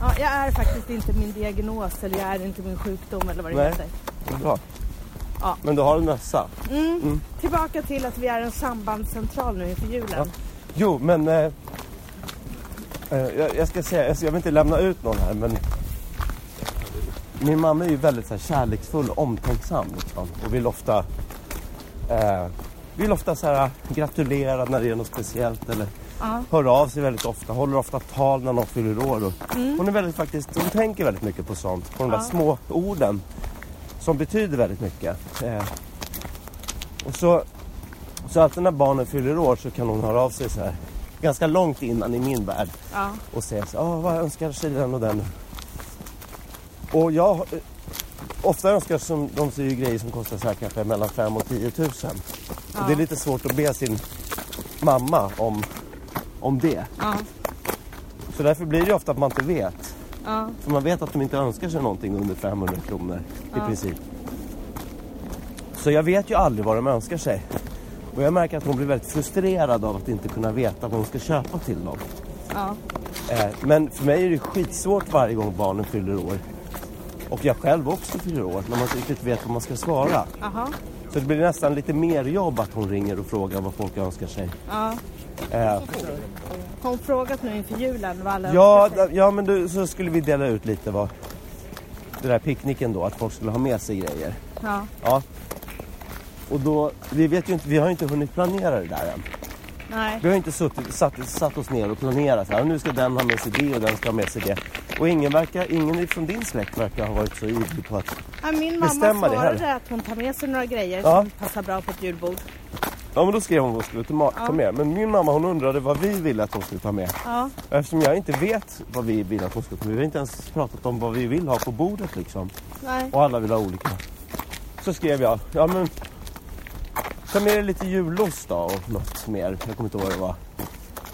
Speaker 5: ja. Jag är faktiskt inte min diagnos eller jag är inte min sjukdom eller vad det
Speaker 4: Nej.
Speaker 5: heter.
Speaker 4: Det är Bra.
Speaker 5: Ja.
Speaker 4: Men du har en mössa.
Speaker 5: Mm. Tillbaka till att vi är en sambandscentral nu inför julen.
Speaker 4: Jo, men... Eh, eh, jag, jag ska säga, jag, jag vill inte lämna ut någon här, men... Min mamma är ju väldigt så här, kärleksfull och omtänksam liksom, och vill ofta... Eh, vill ofta så här, gratulera när det är något speciellt eller
Speaker 5: Ja.
Speaker 4: hör av sig väldigt ofta, håller ofta tal när någon fyller år. Och Hon är väldigt faktiskt, hon tänker väldigt mycket på sånt, på de där
Speaker 5: Mm. Ja.
Speaker 4: små orden som betyder väldigt mycket. Eh, och så, så alltid när barnen fyller år så kan hon höra av sig så här ganska långt innan i min värld
Speaker 5: Ja.
Speaker 4: och säga så ah, vad önskar sig den och den. Och jag, eh, ofta önskar som, de sig ju grejer som kostar så här kanske mellan 5 och 10 000. Och det är lite svårt att be sin mamma om, om det.
Speaker 5: Ja.
Speaker 4: Så därför blir det ju ofta att man inte vet.
Speaker 5: Ja.
Speaker 4: För man vet att de inte önskar sig någonting under 500 kronor i princip. Så jag vet ju aldrig vad de önskar sig. Och jag märker att hon blir väldigt frustrerad av att inte kunna veta vad hon ska köpa till dem.
Speaker 5: Ja.
Speaker 4: Eh, Men för mig är det skitsvårt varje gång barnen fyller år. Och jag själv också fyller år, när man inte riktigt vet vad man ska svara.
Speaker 5: Jaha.
Speaker 4: Så det blir nästan lite mer jobb att hon ringer och frågar vad folk önskar sig.
Speaker 5: Ja.
Speaker 4: Eh,
Speaker 5: Har hon frågat nu inför julen vad alla
Speaker 4: ja,
Speaker 5: önskar sig?
Speaker 4: d- ja, men du, så skulle vi dela ut lite vad... Den där picknicken då, att folk skulle ha med sig grejer.
Speaker 5: Ja.
Speaker 4: Ja. Och då, vi vet ju inte, vi har ju inte hunnit planera det där än.
Speaker 5: Nej.
Speaker 4: Vi har ju inte suttit, satt, satt oss ner och planerat här. Nu ska den ha med sig det och den ska ha med sig det. Och ingen, verkar, ingen från din släkt verkar ha varit så ivrig på att...
Speaker 5: Ja, Min mamma
Speaker 4: Bestämma det här.
Speaker 5: svarade att hon tar med sig några grejer
Speaker 4: Ja.
Speaker 5: som passar bra på ett julbord.
Speaker 4: Ja men då skrev hon vad hon skulle ta ma- ta med. Men min mamma hon undrade vad vi ville att hon skulle ta med.
Speaker 5: Ja.
Speaker 4: Och Eftersom jag inte vet vad vi vill att hon ska ta med. Vi har inte ens pratat om vad vi vill ha på bordet liksom.
Speaker 5: Nej.
Speaker 4: Och alla vill ha olika. Så skrev jag, ja men... Ta med dig lite julost då och något mer. Jag kommer inte ihåg vad det var.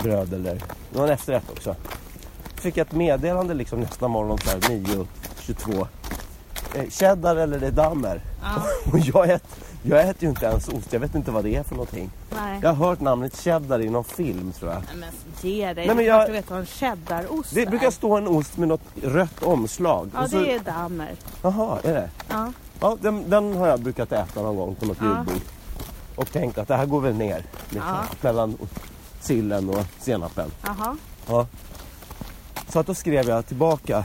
Speaker 4: Bröd eller... Det var en efterrätt också. Fick jag ett meddelande liksom nästa morgon så här 9.22. Eh, cheddar eller edamer? (laughs) Och jag äter, jag äter ju inte ens ost. Jag vet inte vad det är för någonting.
Speaker 5: Nej.
Speaker 4: Jag har hört namnet cheddar i någon film tror jag.
Speaker 5: Nej, Men ge
Speaker 4: Nej,
Speaker 5: dig. Nej,
Speaker 4: men
Speaker 5: men
Speaker 4: jag-
Speaker 5: Du vet vad en cheddarost
Speaker 4: Det brukar stå en ost med något rött omslag.
Speaker 5: Ja,
Speaker 4: Och så-
Speaker 5: det är dammer.
Speaker 4: Jaha, är det?
Speaker 5: Ja.
Speaker 4: Ja, den, den har jag brukat äta någon gång på något
Speaker 5: Ja.
Speaker 4: julbord. Och tänkt att det här går väl ner. Liksom,
Speaker 5: Ja.
Speaker 4: Mellan sillen och senapen.
Speaker 5: Jaha.
Speaker 4: Ja. Så att då skrev jag tillbaka.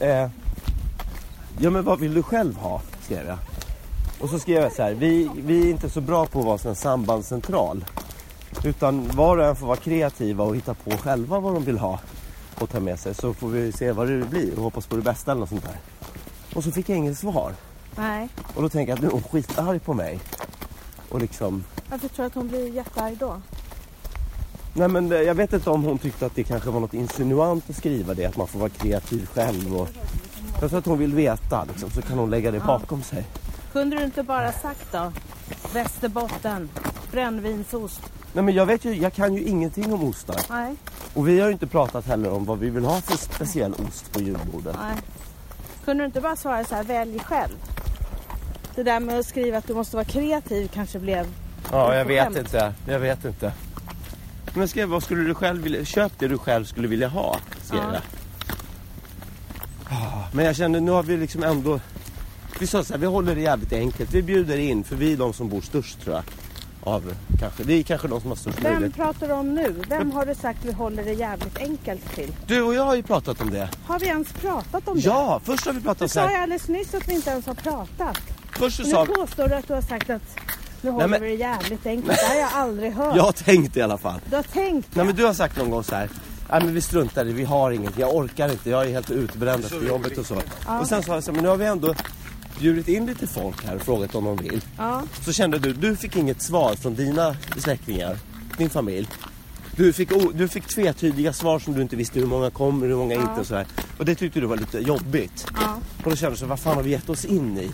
Speaker 4: Eh, ja men vad vill du själv ha? Skrev jag. Och så skrev jag så här. Vi, vi är inte så bra på att vara sån här sambandscentral. Utan var och en får vara kreativa och hitta på själva vad de vill ha. Och ta med sig. Så får vi se vad det blir och hoppas på det bästa eller något sånt där. Och så fick jag inget svar.
Speaker 5: Nej.
Speaker 4: Och då tänker jag att nu är hon skitarg på mig. Och liksom
Speaker 5: Varför tror du att hon blir jättearg då?
Speaker 4: Nej men eh, jag vet inte om hon tyckte att det kanske var något insinuant att skriva det, att man får vara kreativ själv och... Jag tror att hon vill veta liksom, så kan hon lägga det bakom sig.
Speaker 5: Kunde du inte bara sagt då? Västerbotten, brännvinsost.
Speaker 4: Nej men jag vet ju, jag kan ju ingenting om ostar.
Speaker 5: Nej,
Speaker 4: Och vi har ju inte pratat heller om vad vi vill ha för speciell ost på julbordet.
Speaker 5: nej. Kunde du inte bara svara så här, välj själv? Det där med att skriva att du måste vara kreativ kanske blev...
Speaker 4: Ja, jag vet inte. Jag vet inte. Men skrev, vad skulle du själv vilja, köp det du själv skulle vilja ha, skrev
Speaker 5: Ja.
Speaker 4: jag. Ah, Men jag kände, nu har vi liksom ändå, vi sa så här, vi håller det jävligt enkelt. Vi bjuder in, för vi är de som bor störst tror jag. Av, kanske, vi är kanske de som har störst
Speaker 5: Vem
Speaker 4: möjlighet.
Speaker 5: pratar du om nu? Vem har du sagt vi håller det jävligt enkelt till?
Speaker 4: Du och jag har ju pratat om det.
Speaker 5: Har vi ens pratat om det?
Speaker 4: Ja, först har vi
Speaker 5: Du
Speaker 4: pratat så
Speaker 5: sa ju
Speaker 4: här.
Speaker 5: alldeles nyss att vi inte ens har pratat.
Speaker 4: Först så
Speaker 5: Nu
Speaker 4: sa vi,
Speaker 5: påstår du att du har sagt att nu håller
Speaker 4: men-
Speaker 5: vi det jävligt enkelt. Det har jag aldrig hört.
Speaker 4: jag har tänkt i alla fall.
Speaker 5: Du har tänkt
Speaker 4: Nej men du har sagt någon gång så här. Nej men vi struntar i det, vi har inget, jag orkar inte, jag är helt utbränd efter jobbet och så. Och sen sa jag så här, men nu har vi ändå bjudit in lite folk här och frågat om de vill.
Speaker 5: Ja.
Speaker 4: Så kände du, du fick inget svar från dina släktingar, din familj. Du fick, o- du fick tvetydiga svar som du inte visste hur många kommer hur många inte och så här. Och det tyckte du var lite jobbigt. Och då kände du så, här, vad fan har vi gett oss in i?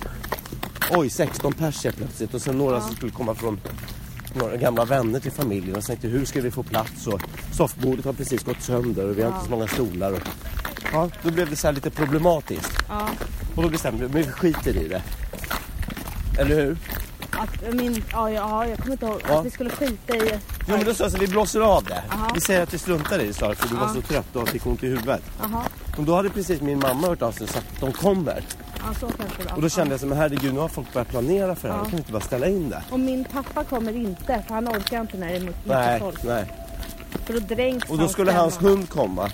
Speaker 4: Oj, 16 pers helt plötsligt och sen några som skulle komma från några gamla vänner till familjen och tänkte hur ska vi få plats och soffbordet har precis gått sönder och vi har inte så många stolar. Och, ja, då blev det så här lite problematiskt.
Speaker 5: Ja.
Speaker 4: Och då bestämde vi, men vi skiter i det. Eller hur?
Speaker 5: att min... Ja, ja jag kommer inte ihåg.
Speaker 4: Ja.
Speaker 5: Att vi skulle skita i...
Speaker 4: Jo men då sa jag så här, vi blåser av det. Vi säger att vi struntar i det sa jag, för du var så trött och fick ont i huvudet.
Speaker 5: Jaha.
Speaker 4: Och då hade precis min mamma hört av sig och sagt att de kommer.
Speaker 5: Ja, så kanske det var.
Speaker 4: Och då kände jag så här, men herregud nu har folk börjat planera för det här. Då kan vi inte bara ställa in det.
Speaker 5: Och min pappa kommer inte, för han orkar inte när det är mycket
Speaker 4: Nej,
Speaker 5: folk.
Speaker 4: nej.
Speaker 5: För då dränks
Speaker 4: Och då skulle
Speaker 5: stämma.
Speaker 4: hans hund komma.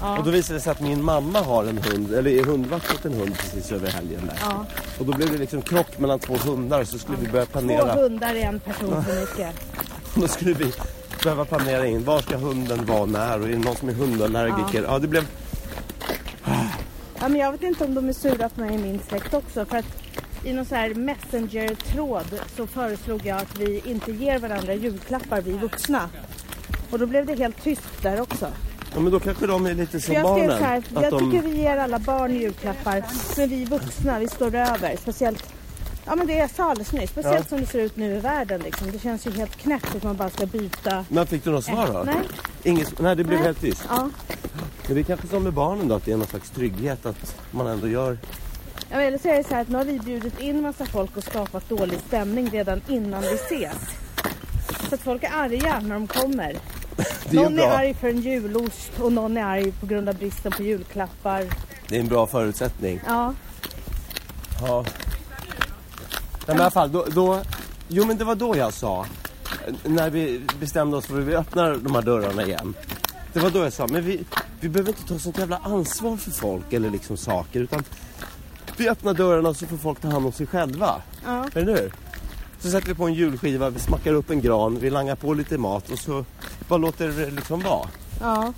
Speaker 5: Ja.
Speaker 4: Och då visade det sig att min mamma har en hund, eller är hundvaktat en hund precis över helgen där.
Speaker 5: Ja.
Speaker 4: Och då blev det liksom krock mellan två hundar så skulle vi börja
Speaker 5: Två
Speaker 4: planera.
Speaker 5: hundar är en person för mycket.
Speaker 4: Då skulle vi behöva planera in var ska hunden vara när och är det någon som är hundallergiker? Ja, det blev...
Speaker 5: Ja, men jag vet inte om de är sura på mig i min släkt också. För att i någon så här messenger-tråd så föreslog jag att vi inte ger varandra julklappar, vi vuxna. Och då blev det helt tyst där också.
Speaker 4: Ja, men då kanske de är lite som
Speaker 5: För jag skrev
Speaker 4: barnen.
Speaker 5: så här,
Speaker 4: att
Speaker 5: jag
Speaker 4: de...
Speaker 5: tycker vi ger alla barn julklappar, men vi vuxna, vi står över. Speciellt, ja men det jag sa alldeles nyss, speciellt
Speaker 4: Ja.
Speaker 5: som det ser ut nu i världen liksom. Det känns ju helt knäppt att man bara ska byta.
Speaker 4: Men fick du något svar då?
Speaker 5: Nej.
Speaker 4: Inget... Nej, det blev
Speaker 5: Nej.
Speaker 4: helt tyst.
Speaker 5: Ja,
Speaker 4: Men det är kanske som med barnen då, att det är någon slags trygghet att man ändå gör...
Speaker 5: Ja, men eller så är det så här att nu har vi bjudit in massa folk och skapat dålig stämning redan innan vi ses. Så att folk är arga när de kommer.
Speaker 4: Det är
Speaker 5: någon
Speaker 4: en
Speaker 5: är
Speaker 4: bra,
Speaker 5: arg för en julost och någon är arg på grund av bristen på julklappar.
Speaker 4: det är en bra förutsättning.
Speaker 5: Ja,
Speaker 4: Ja. Nej, men i alla fall, då, då... Jo, men det var då jag sa. eh, När vi bestämde oss för att vi öppnar de här dörrarna igen. Det var då jag sa, men vi, vi behöver inte ta sånt jävla ansvar för folk eller liksom saker. Utan vi öppnar dörrarna och så får folk ta hand om sig själva.
Speaker 5: ja,
Speaker 4: Eller hur? Så sätter vi på en julskiva, vi smackar upp en gran, vi langar på lite mat och så bara låter det liksom vara.
Speaker 5: ja,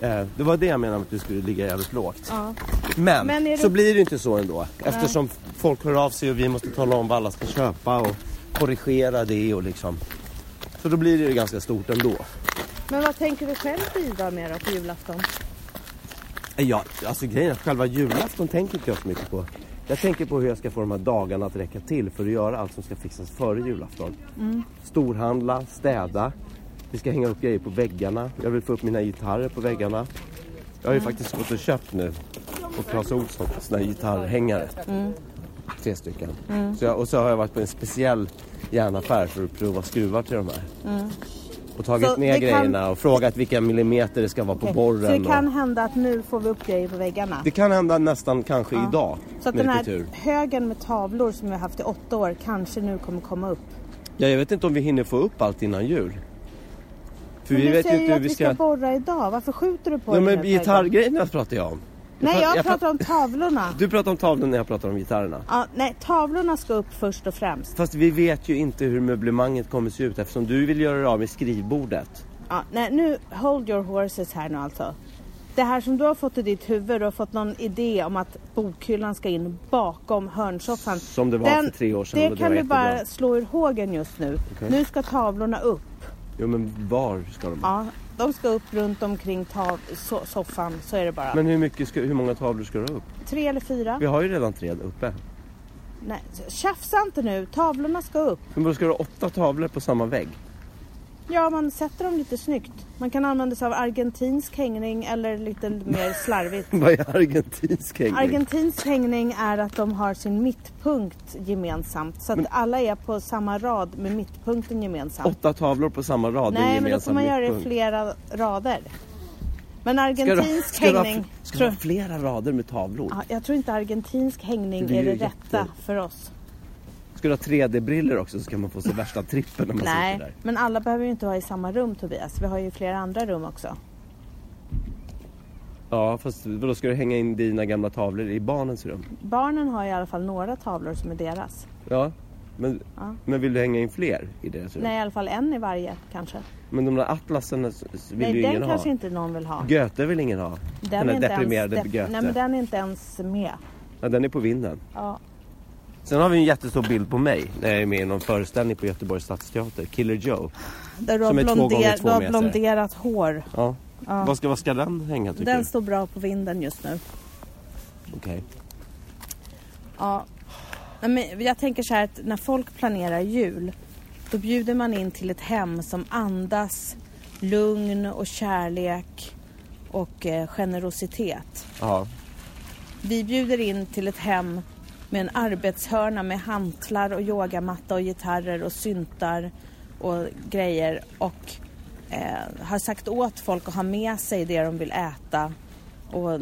Speaker 4: Eh, det var det jag menade med att du skulle ligga jävligt lågt.
Speaker 5: ja.
Speaker 4: Men,
Speaker 5: Men är det-
Speaker 4: så blir det inte så ändå. Eftersom folk hör av sig och vi måste tala om vad alla ska köpa och korrigera det och liksom. Så då blir det ju ganska stort ändå.
Speaker 5: Men vad tänker du själv bidra med då på julafton?
Speaker 4: Eh, Ja, alltså grejen är att själva julafton tänker inte jag så mycket på. Jag tänker på hur jag ska få de här dagarna att räcka till för att göra allt som ska fixas före julafton.
Speaker 5: Mm.
Speaker 4: Storhandla, städa. Vi ska hänga upp grejer på väggarna. Jag vill få upp mina gitarrer på väggarna. Jag har
Speaker 5: Mm.
Speaker 4: ju faktiskt gått och köpt nu på Clas Ohlson såna här gitarrhängare.
Speaker 5: Mm.
Speaker 4: Tre stycken. Så jag, och så har jag varit på en speciell järnaffär för att prova skruvar till de här. och tagit
Speaker 5: Mm. Så
Speaker 4: med
Speaker 5: det kan-
Speaker 4: grejerna och frågat vilka millimeter det ska vara på
Speaker 5: Okej, Så
Speaker 4: borren.
Speaker 5: det kan
Speaker 4: och...
Speaker 5: hända att nu får vi upp grejer på väggarna.
Speaker 4: det kan hända nästan kanske idag.
Speaker 5: Så att
Speaker 4: med
Speaker 5: den här
Speaker 4: lite tur.
Speaker 5: högen med tavlor som vi har haft i åtta år kanske nu kommer komma upp.
Speaker 4: Ja, jag vet inte om vi hinner få upp allt innan jul. För
Speaker 5: Men
Speaker 4: vi
Speaker 5: du
Speaker 4: vet ju
Speaker 5: säger
Speaker 4: inte hur
Speaker 5: att
Speaker 4: vi
Speaker 5: ska
Speaker 4: ska...
Speaker 5: borra idag. Varför skjuter du på
Speaker 4: Ja,
Speaker 5: det
Speaker 4: men
Speaker 5: nu, Per?
Speaker 4: gitarrgrejerna pratar jag om.
Speaker 5: Nej, jag,
Speaker 4: jag pra-
Speaker 5: pratar om tavlorna.
Speaker 4: Du pratar om tavlan när jag pratar om gitarrerna.
Speaker 5: Ja, nej, tavlorna ska upp först och främst.
Speaker 4: Fast vi vet ju inte hur möblemanget kommer se ut eftersom du vill göra det av med skrivbordet.
Speaker 5: Ja, nej, nu, hold your horses här nu alltså. Det här som du har fått i ditt huvud, du har fått någon idé om att bokhyllan ska in bakom hörnsoffan.
Speaker 4: Som det var för tre år sedan och
Speaker 5: Det
Speaker 4: det
Speaker 5: kan
Speaker 4: var
Speaker 5: du bara
Speaker 4: jättebra.
Speaker 5: slå ur hågen just nu. Nu ska tavlorna upp.
Speaker 4: Jo men var ska de?
Speaker 5: Ja, de ska upp runt omkring tav- so- soffan, så är det bara.
Speaker 4: Men hur, mycket ska, hur många tavlor ska du ha upp?
Speaker 5: Tre eller fyra?
Speaker 4: Vi har ju redan tre uppe.
Speaker 5: Nej, tjafsa inte nu, tavlorna ska upp.
Speaker 4: Men då ska du ha åtta tavlor på samma vägg? (laughs)
Speaker 5: Ja, man sätter dem lite snyggt. Man kan använda sig av argentinsk hängning eller lite mer slarvigt.
Speaker 4: Vad är argentinsk hängning?
Speaker 5: Argentinsk hängning är att de har sin mittpunkt gemensamt. Så att alla är på samma rad med mittpunkten gemensamt.
Speaker 4: Åtta tavlor på samma rad i en
Speaker 5: Nej, men då får
Speaker 4: gemensam
Speaker 5: man göra det i
Speaker 4: mittpunkt.
Speaker 5: flera rader. Men
Speaker 4: Ska du-
Speaker 5: argentinsk
Speaker 4: ska du ha-
Speaker 5: hängning...
Speaker 4: Ska du
Speaker 5: tror-
Speaker 4: ha flera rader med tavlor?
Speaker 5: ja, jag tror inte argentinsk hängning
Speaker 4: Det blir
Speaker 5: är det
Speaker 4: ju jätte-
Speaker 5: rätta för oss.
Speaker 4: Ska du ha 3D-briller också så kan man få så värsta trippen när man sitter
Speaker 5: Nej,
Speaker 4: där.
Speaker 5: men alla behöver ju inte vara i samma rum Tobias. Vi har ju flera andra rum också.
Speaker 4: Ja fast då ska du hänga in dina gamla tavlor i barnens rum?
Speaker 5: Barnen har i alla fall några tavlor som är deras.
Speaker 4: Ja. Men, men vill du hänga in fler i deras rum?
Speaker 5: Nej, i alla fall en i varje kanske.
Speaker 4: Men de där atlasen s- s- vill
Speaker 5: Nej,
Speaker 4: ju
Speaker 5: den
Speaker 4: ingen
Speaker 5: kanske
Speaker 4: ha.
Speaker 5: inte någon vill ha.
Speaker 4: Göte vill ingen ha. Den,
Speaker 5: Den, är
Speaker 4: där
Speaker 5: inte
Speaker 4: deprimerade
Speaker 5: ens,
Speaker 4: Göte.
Speaker 5: Nej, men den är inte ens med.
Speaker 4: ja, den är på vinden.
Speaker 5: Ja.
Speaker 4: Sen har vi en jättestor bild på mig när jag är med i någon föreställning på Göteborgs Stadsteater. Killer Joe.
Speaker 5: Där du har,
Speaker 4: Som är två
Speaker 5: blonder-
Speaker 4: gånger två
Speaker 5: du har
Speaker 4: meter.
Speaker 5: blonderat hår.
Speaker 4: Ja. Vad ska, vad ska den hänga tycker
Speaker 5: Den står bra på vinden just nu.
Speaker 4: du? Okej.
Speaker 5: Ja. Nej, men jag tänker så här att när folk planerar jul då bjuder man in till ett hem som andas lugn och kärlek och eh, generositet.
Speaker 4: Ja.
Speaker 5: Vi bjuder in till ett hem med en arbetshörna med hantlar och yogamatta och gitarrer och syntar och grejer och eh, har sagt åt folk att ha med sig det de vill äta. Och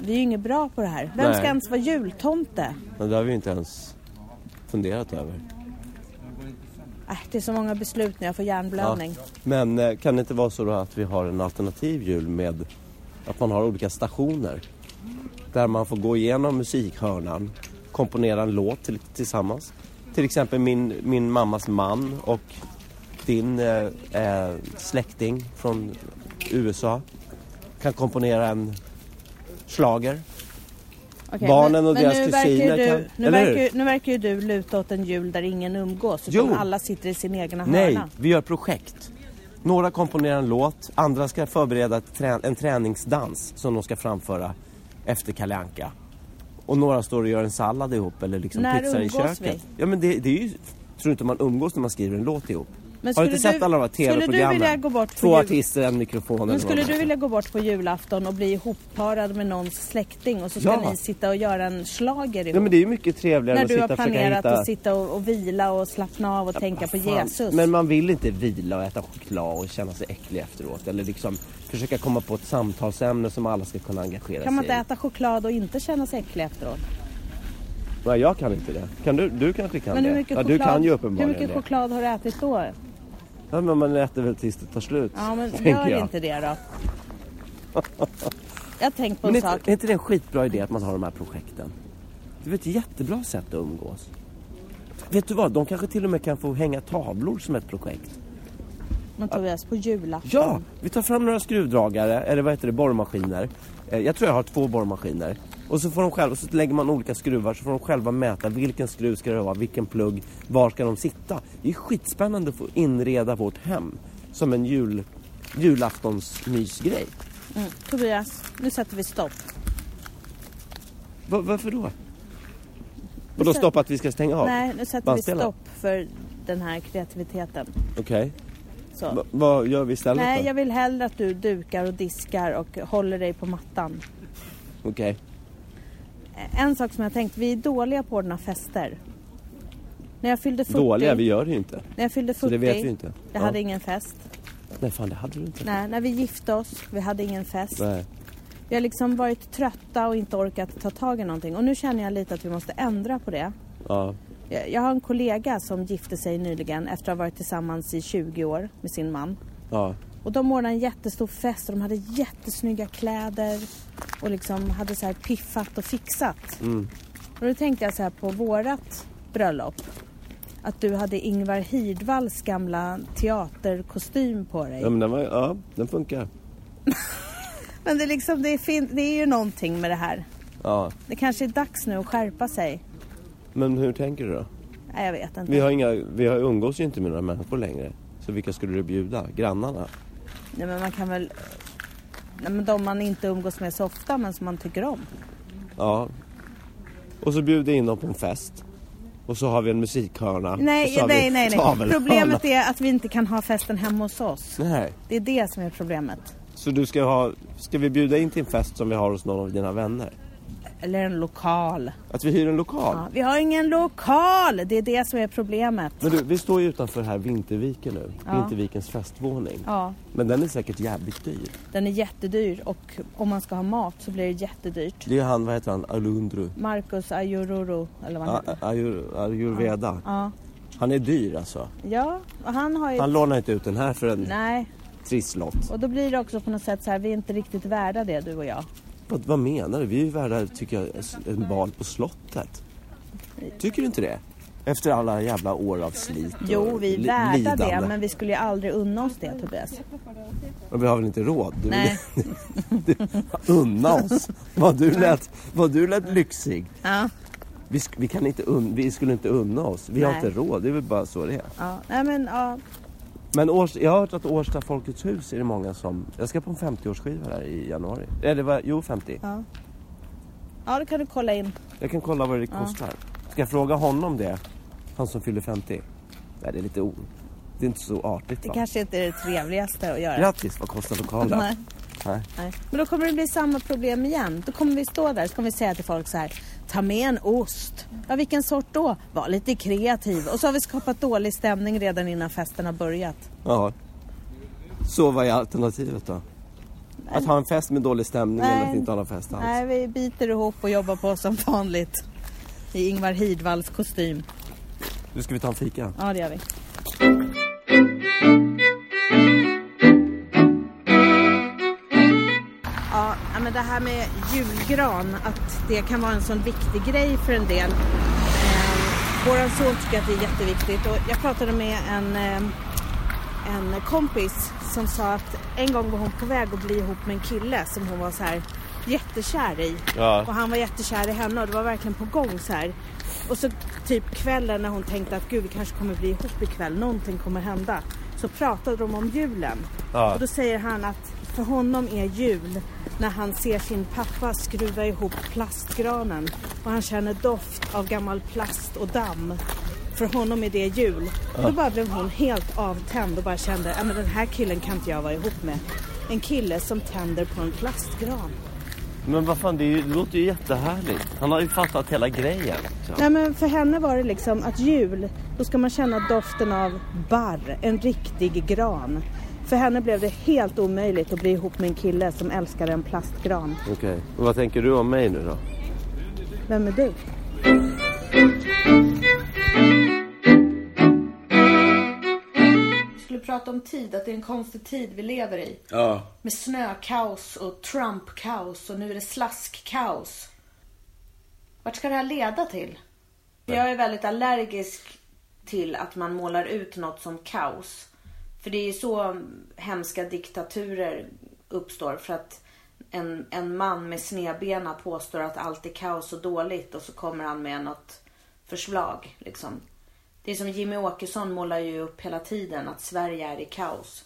Speaker 5: vi är ju inget bra på det här. Vem
Speaker 4: Nej.
Speaker 5: ska ens vara jultomte?
Speaker 4: Men det har vi ju inte ens funderat över.
Speaker 5: Äh, det är så många beslut när jag får hjärnblödning.
Speaker 4: Men eh, kan det inte vara så då att vi har en alternativ jul med att man har olika stationer? Där man får gå igenom musikhörnan, komponera en låt till, tillsammans. Till exempel min, min mammas man och din eh, eh, släkting från USA kan komponera en schlager.
Speaker 5: Okej,
Speaker 4: Barnen och deras
Speaker 5: nu verkar ju
Speaker 4: kusiner
Speaker 5: du,
Speaker 4: kan-
Speaker 5: Nu
Speaker 4: eller hur?
Speaker 5: verkar, ju- nu verkar ju du luta åt en jul där ingen umgås utan
Speaker 4: Jo.
Speaker 5: alla sitter i sin egna
Speaker 4: Nej,
Speaker 5: hörna.
Speaker 4: vi gör projekt. Några komponerar en låt, andra ska förbereda ett trä- en träningsdans som de ska framföra efter Kalle Anka. Och några står och gör en sallad ihop eller liksom
Speaker 5: När
Speaker 4: pizza i
Speaker 5: umgås
Speaker 4: köket.
Speaker 5: vi?
Speaker 4: Ja men det, det är ju... Tror inte man umgås när man skriver en låt ihop?
Speaker 5: Men
Speaker 4: Har du
Speaker 5: skulle
Speaker 4: inte sett
Speaker 5: du-
Speaker 4: alla de här
Speaker 5: skulle du vilja
Speaker 4: TV-programmen?
Speaker 5: gå bort på
Speaker 4: Två
Speaker 5: jul?
Speaker 4: artister, en mikrofon eller
Speaker 5: Men skulle
Speaker 4: vad man-
Speaker 5: du vilja gå bort på julafton och bli ihopparad med någons släkting och så ska
Speaker 4: Ja.
Speaker 5: ni sitta och göra en schlager
Speaker 4: Nej
Speaker 5: ihop?
Speaker 4: men det är ju mycket trevligare
Speaker 5: när
Speaker 4: att
Speaker 5: du
Speaker 4: sitta
Speaker 5: har
Speaker 4: och försöka
Speaker 5: planerat
Speaker 4: hitta...
Speaker 5: att sitta och, och vila och slappna av och tänka på
Speaker 4: Fan,
Speaker 5: Jesus.
Speaker 4: Men man vill inte vila och äta choklad och känna sig äcklig efteråt. Eller liksom försöka komma på ett samtalsämne som alla ska kunna engagera
Speaker 5: kan man
Speaker 4: sig
Speaker 5: inte
Speaker 4: i.
Speaker 5: äta choklad och inte känna sig äcklig efteråt?
Speaker 4: Nej, jag kan inte det. Kan du, du kanske kan
Speaker 5: Men hur
Speaker 4: det?
Speaker 5: mycket,
Speaker 4: ja,
Speaker 5: choklad,
Speaker 4: du kan ju
Speaker 5: hur
Speaker 4: uppenbarligen
Speaker 5: mycket
Speaker 4: det.
Speaker 5: choklad har du ätit då?
Speaker 4: Ja, men man äter väl tills det tar slut.
Speaker 5: Ja, men
Speaker 4: tänker
Speaker 5: gör
Speaker 4: jag.
Speaker 5: inte det
Speaker 4: (laughs)
Speaker 5: då. Jag har tänkt på
Speaker 4: Men
Speaker 5: en
Speaker 4: är, inte-
Speaker 5: sak.
Speaker 4: är inte det en skitbra idé att man har de här projekten? Det är ett jättebra sätt att umgås. Vet du vad, de kanske till och med kan få hänga tavlor som ett projekt.
Speaker 5: Men Tobias, på julafton.
Speaker 4: Ja, vi tar fram några skruvdragare, eller vad heter det, borrmaskiner. Eh, Jag tror jag har två borrmaskiner. Och så får de själva, så lägger man olika skruvar så får de själva mäta vilken skruv ska det vara, vilken plugg, var ska de sitta. Det är skitspännande att få inreda vårt hem som en jul, julaftonsmysgrej.
Speaker 5: Mm. Tobias, nu sätter vi stopp.
Speaker 4: Va- varför då? Och då stoppa att vi ska stänga av?
Speaker 5: Nej, nu sätter vi
Speaker 4: bandspelaren?
Speaker 5: stopp för den här kreativiteten.
Speaker 4: Okej.
Speaker 5: Så.
Speaker 4: Va- Vad gör vi istället
Speaker 5: Nej,
Speaker 4: då?
Speaker 5: jag vill hellre att du dukar och diskar och håller dig på mattan.
Speaker 4: Okej.
Speaker 5: Eh, En sak som jag har tänkt, vi är dåliga på att ordna fester. När jag fyllde 40,
Speaker 4: Dåliga, vi gör det ju inte.
Speaker 5: när jag fyllde 40
Speaker 4: så det vet vi inte.
Speaker 5: jag
Speaker 4: Ja.
Speaker 5: hade ingen fest.
Speaker 4: Nej, fan det hade du inte.
Speaker 5: Nej, när vi gifte oss, vi hade ingen fest.
Speaker 4: Nej.
Speaker 5: Vi har liksom varit trötta och inte orkat ta tag i någonting. Och nu känner jag lite att vi måste ändra på det.
Speaker 4: Ja.
Speaker 5: Jag jag har en kollega som gifte sig nyligen efter att ha varit tillsammans i 20 år med sin man.
Speaker 4: Ja.
Speaker 5: Och de ordnade en jättestor fest och de hade jättesnygga kläder och liksom hade så här piffat och fixat.
Speaker 4: Mm.
Speaker 5: Och då tänkte jag så här på vårat bröllop. Att du hade Ingvar Hirdvalls gamla teaterkostym på dig.
Speaker 4: ja, men den var Ja, den funkar.
Speaker 5: Men det är, liksom, det, är fin- det är ju någonting med det här.
Speaker 4: Ja.
Speaker 5: Det kanske är dags nu att skärpa sig.
Speaker 4: Men hur tänker du då?
Speaker 5: Nej, jag vet inte.
Speaker 4: Vi har inga, vi har umgås ju inte med några människor längre. Så vilka skulle du bjuda? Grannarna?
Speaker 5: Nej, men man kan väl... Nej, men de man inte umgås med så ofta men som man tycker om.
Speaker 4: Ja. Och så bjuder jag in dem på en fest. Och så har vi en musikhörna. och så
Speaker 5: Nej,
Speaker 4: har vi
Speaker 5: nej, nej. nej.
Speaker 4: tavelhörna.
Speaker 5: Problemet är att vi inte kan ha festen hemma hos oss.
Speaker 4: Nej.
Speaker 5: Det är det som är problemet.
Speaker 4: Så du ska ha... Ska vi bjuda in till en fest som vi har hos någon av dina vänner?
Speaker 5: Eller en lokal.
Speaker 4: Att vi hyr en lokal?
Speaker 5: Ja, vi har ingen lokal! Det är det som är problemet.
Speaker 4: Men du, vi står ju utanför här Vinterviken nu.
Speaker 5: Ja.
Speaker 4: Vintervikens festvåning.
Speaker 5: Ja,
Speaker 4: Men den är säkert jävligt dyr.
Speaker 5: den är jättedyr och om man ska ha mat så blir det jättedyrt.
Speaker 4: Det är han, vad heter han, Alundru?
Speaker 5: Marcus Ajururu, eller vad han
Speaker 4: A-
Speaker 5: heter.
Speaker 4: a- Ayur, Ayurveda.
Speaker 5: Ja.
Speaker 4: Han är dyr alltså.
Speaker 5: ja, och han har ju...
Speaker 4: Han lånar inte ut den här för en
Speaker 5: Nej,
Speaker 4: trisslott.
Speaker 5: och då blir det också på något sätt så här, vi är inte riktigt värda det du och jag.
Speaker 4: Vad, vad menar du? Vi är ju värda, tycker jag, s- en bal på slottet. Tycker du inte det? Efter alla jävla år av slit och
Speaker 5: Jo, vi är
Speaker 4: li-
Speaker 5: värda
Speaker 4: lidande.
Speaker 5: det, men vi skulle ju aldrig unna oss det Tobias.
Speaker 4: Men vi har väl inte råd? Du, (laughs)
Speaker 5: Nej.
Speaker 4: unna oss! Vad du lät, vad du lät lyxig.
Speaker 5: Ja.
Speaker 4: Vi, sk- vi, kan inte un, vi skulle inte unna oss. Vi har
Speaker 5: Nej.
Speaker 4: inte råd. Det är väl bara så det är.
Speaker 5: Ja, nej men ja.
Speaker 4: Men Års, jag har hört att Årsta Folkets hus är det många som... Jag ska på en 50-årsskiva där i januari. Eller vad, jo 50.
Speaker 5: Ja, ja då kan du kolla in.
Speaker 4: Jag kan kolla vad det kostar. Ska jag fråga honom det? Han som fyller 50? Nej, det är lite o... Det är inte så artigt
Speaker 5: Det
Speaker 4: va?
Speaker 5: kanske inte är det trevligaste att göra.
Speaker 4: Grattis, vad kostar lokalen?
Speaker 5: Nej.
Speaker 4: Nej.
Speaker 5: Nej. Men då kommer det bli samma problem igen. Då kommer vi stå där så kommer vi säga till folk så här. Ta med en ost. Ja, vilken sort då? Var lite kreativ. Och så har vi skapat dålig stämning redan innan festen har börjat.
Speaker 4: Ja. Så vad är alternativet då? Att ha en fest med dålig stämning eller att
Speaker 5: Nej.
Speaker 4: inte ha någon fest alls?
Speaker 5: Nej, vi biter ihop och jobbar på som vanligt. I Ingvar Hirdvalls kostym.
Speaker 4: Nu ska vi ta en fika.
Speaker 5: Ja, det gör vi. Ja, ja, men det här med julgran, att det kan vara en sån viktig grej för en del. Eh,
Speaker 1: Ehm,
Speaker 5: våran son tycker att det är jätteviktigt och jag pratade med en, eh, en kompis som sa att en gång var hon på väg att bli ihop med en kille som hon var så här jättekär i.
Speaker 4: Ja.
Speaker 5: Och han var jättekär i henne och det var verkligen på gång så här. Och så typ kvällen när hon tänkte att gud vi kanske kommer bli ihop ikväll, någonting kommer hända. Så pratade de om julen.
Speaker 4: Ja.
Speaker 5: Och då säger han att för honom är jul när han ser sin pappa skruva ihop plastgranen och han känner doft av gammal plast och damm. För honom är det jul. Och då bara blev hon helt avtänd och bara kände att den här killen kan inte jag vara ihop med. En kille som tänder på en plastgran.
Speaker 4: Men vad fan, det, är ju, det låter ju jättehärligt. Han har ju fattat hela grejen.
Speaker 5: Nej men för henne var det liksom att jul, då ska man känna doften av barr, en riktig gran. För henne blev det helt omöjligt att bli ihop med en kille som älskade en plastgran.
Speaker 4: Okej, och vad tänker du om mig nu då?
Speaker 5: Vem är du?
Speaker 1: Vi skulle prata om tid, att det är en konstig tid vi lever i.
Speaker 2: Ja.
Speaker 1: Med snökaos och Trump-kaos och nu är det slaskkaos. Vart ska det här leda till? Jag är väldigt allergisk till att man målar ut något som kaos. För det är ju så hemska diktaturer uppstår. För att en, en man med snedbena påstår att allt är kaos och dåligt och så kommer han med något förslag. Liksom. Det är som Jimmy Åkesson målar ju upp hela tiden att Sverige är i kaos.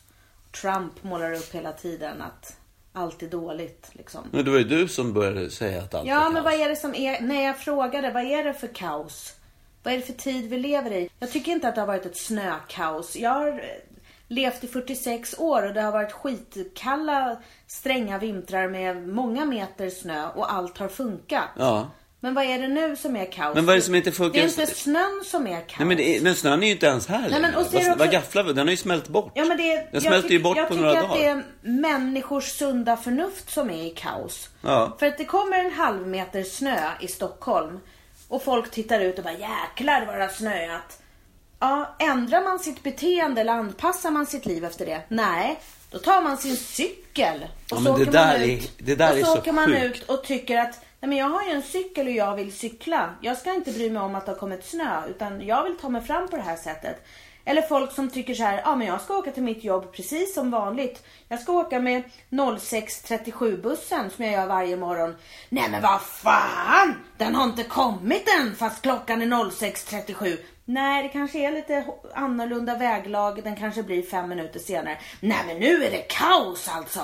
Speaker 1: Trump målar upp hela tiden att allt är dåligt. Liksom.
Speaker 2: Men det var ju du som började säga att allt var
Speaker 1: Ja, men
Speaker 2: kaos.
Speaker 1: vad är det som är... När jag frågade, vad är det för kaos? Vad är det för tid vi lever i? Jag tycker inte att det har varit ett snökaos. Jag har eh, levt i 46 år och det har varit skitkalla, stränga vintrar med många meter snö och allt har funkat.
Speaker 2: Ja.
Speaker 1: Men vad är det nu som är kaos?
Speaker 2: Men vad är det som inte
Speaker 1: Det
Speaker 2: funkar?
Speaker 1: är inte snön som är kaos.
Speaker 2: Nej, men, det är, men snön är ju inte ens här
Speaker 1: Nej, men
Speaker 2: längre.
Speaker 1: och så är det
Speaker 2: Vad- Vad
Speaker 1: också-
Speaker 2: gafflar vi? Den har ju smält bort.
Speaker 1: Ja, men det, är-
Speaker 2: Den smälter ju
Speaker 1: tyck-
Speaker 2: bort
Speaker 1: jag
Speaker 2: på
Speaker 1: tycker
Speaker 2: några
Speaker 1: att
Speaker 2: dagar.
Speaker 1: det är människors sunda förnuft som är i kaos.
Speaker 2: Ja.
Speaker 1: För att det kommer en halv meter snö i Stockholm och folk tittar ut och bara jäklar vad det har snöat. Ja, ändrar man sitt beteende eller anpassar man sitt liv efter det? Nej, då tar man sin cykel och
Speaker 2: Ja,
Speaker 1: så
Speaker 2: men
Speaker 1: åker
Speaker 2: det där
Speaker 1: man ut.
Speaker 2: är- det där
Speaker 1: och
Speaker 2: är
Speaker 1: så
Speaker 2: så
Speaker 1: åker man
Speaker 2: sjukt.
Speaker 1: ut och tycker att Nej, men jag har ju en cykel och jag vill cykla. Jag ska inte bry mig om att det har kommit snö utan jag vill ta mig fram på det här sättet. Eller folk som tycker så här, ja men jag ska åka till mitt jobb precis som vanligt. Jag ska åka med 0637 bussen som jag gör varje morgon. Nej men vad fan! Den har inte kommit än fast klockan är 06.37. Nej det kanske är lite ho- annorlunda väglag, den kanske blir fem minuter senare. Nej men nu är det kaos alltså!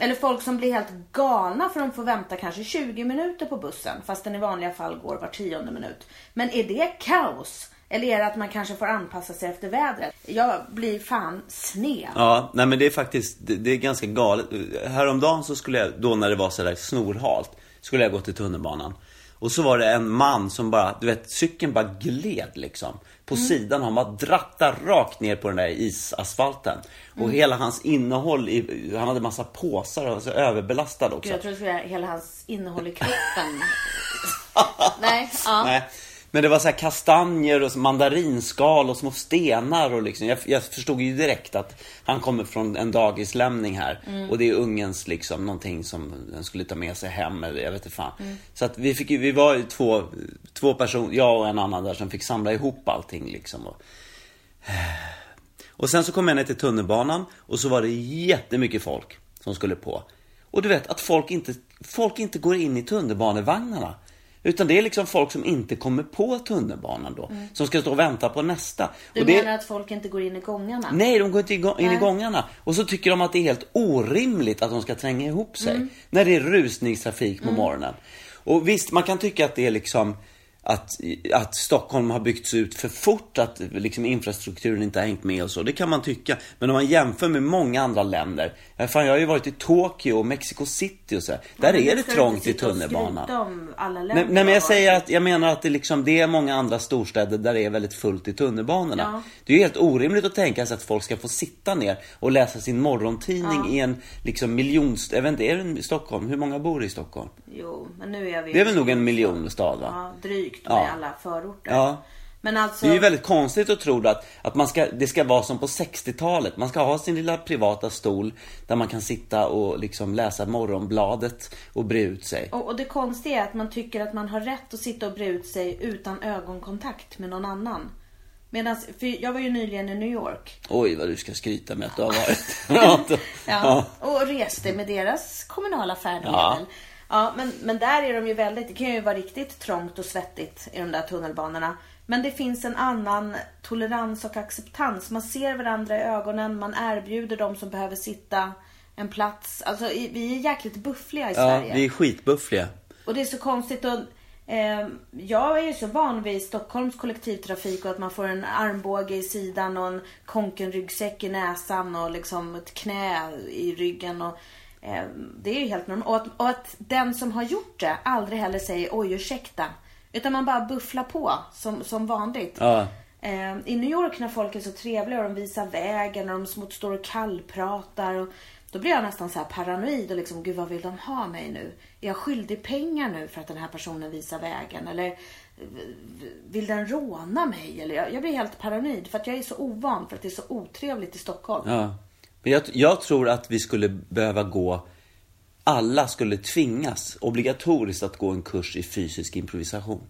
Speaker 1: Eller folk som blir helt galna för de får vänta kanske 20 minuter på bussen fast den i vanliga fall går var tionde minut. Men är det kaos? Eller är det att man kanske får anpassa sig efter vädret? Jag blir fan sned.
Speaker 2: Ja, nej men det är faktiskt, det, det är ganska galet. Häromdagen så skulle jag, då när det var sådär snorhalt, skulle jag gå till tunnelbanan. Och så var det en man som bara, du vet cykeln bara gled liksom. På
Speaker 1: Mm.
Speaker 2: sidan, han bara drattade rakt ner på den där isasfalten. Och
Speaker 1: Mm.
Speaker 2: hela hans innehåll, i, han hade massa påsar och så överbelastad också.
Speaker 1: Gud, jag tror det är hela hans innehåll i
Speaker 2: (laughs)
Speaker 1: kroppen. Nej, ja.
Speaker 2: Nej. Men det var så här kastanjer och så mandarinskal och små stenar och liksom. Jag, jag förstod ju direkt att han kommer från en dagislämning här. Och det är ungens liksom någonting som den skulle ta med sig hem eller jag vet inte fan. Så att vi fick ju, vi var ju två, två personer, jag och en annan där som fick samla ihop allting liksom. Och, och sen så kom jag ner till tunnelbanan och så var det jättemycket folk som skulle på. Och du vet att folk inte, folk inte går in i tunnelbanevagnarna. Utan det är liksom folk som inte kommer på tunnelbanan då. Som ska stå och vänta på nästa.
Speaker 1: Mm. Du
Speaker 2: och det,
Speaker 1: menar att folk inte går in i gångarna?
Speaker 2: Nej, de går inte igång- in i
Speaker 1: Nej.
Speaker 2: gångarna. Och så tycker de att det är helt orimligt att de ska tränga ihop sig.
Speaker 1: Mm.
Speaker 2: När det är rusningstrafik på morgonen. Och visst, man kan tycka att det är liksom att, att Stockholm har byggts ut för fort, att liksom infrastrukturen inte har hängt med och så. Det kan man tycka. Men om man jämför med många andra länder. Ja, Fan, jag har ju varit i Tokyo och Mexico City och så. Där är det trångt i tunnelbanan.
Speaker 1: Om alla länder
Speaker 2: Nej, nej men jag
Speaker 1: har-
Speaker 2: säger att jag menar att det, liksom, det är många andra storstäder där det är väldigt fullt i tunnelbanorna.
Speaker 1: Ja.
Speaker 2: Det är ju helt orimligt att tänka sig att folk ska få sitta ner och läsa sin morgontidning i en liksom, miljonst... Jag vet inte, är det i Stockholm? Hur många bor i Stockholm?
Speaker 1: Jo, men nu är vi...
Speaker 2: Det är väl nog en miljonstad va?
Speaker 1: Ja, drygt
Speaker 2: Ja.
Speaker 1: med alla förorter.
Speaker 2: Ja.
Speaker 1: Men alltså...
Speaker 2: Det är ju väldigt konstigt att tro att, att man ska, det ska vara som på 60-talet. Man ska ha sin lilla privata stol där man kan sitta och liksom läsa Morgonbladet och bre ut sig.
Speaker 1: och, och det konstiga är att man tycker att man har rätt att sitta och bre ut sig utan ögonkontakt med någon annan. Medan, för jag var ju nyligen i New York.
Speaker 2: Oj vad du ska skryta med att du har
Speaker 1: (laughs)
Speaker 2: varit.
Speaker 1: Ja. Och reste med deras kommunala färdmedel.
Speaker 2: Ja.
Speaker 1: Ja. men, men där är de ju väldigt, det kan ju vara riktigt trångt och svettigt i de där tunnelbanorna. Men det finns en annan tolerans och acceptans. Man ser varandra i ögonen, man erbjuder de som behöver sitta en plats. Alltså i- vi är jäkligt buffliga i
Speaker 2: Ja,
Speaker 1: Sverige.
Speaker 2: vi är skitbuffliga.
Speaker 1: Och det är så konstigt och eh, jag är ju så van vid Stockholms kollektivtrafik och att man får en armbåge i sidan och en konkenryggsäck i näsan och liksom ett knä i ryggen. Och, eh, det är ju helt normalt. Och att, och att den som har gjort det aldrig heller säger oj ursäkta. Utan man bara bufflar på som, som vanligt.
Speaker 2: Ja.
Speaker 1: Eh, I New York när folk är så trevliga och de visar vägen och de smått står och kallpratar. Och då blir jag nästan så här paranoid och liksom, gud vad vill de ha mig nu? Är jag skyldig pengar nu för att den här personen visar vägen? Eller eh, vill den råna mig? Eller jag, jag blir helt paranoid för att jag är så ovan för att det är så otrevligt i Stockholm.
Speaker 2: Ja. Men jag, jag tror att vi skulle behöva gå, alla skulle tvingas obligatoriskt att gå en kurs i fysisk improvisation.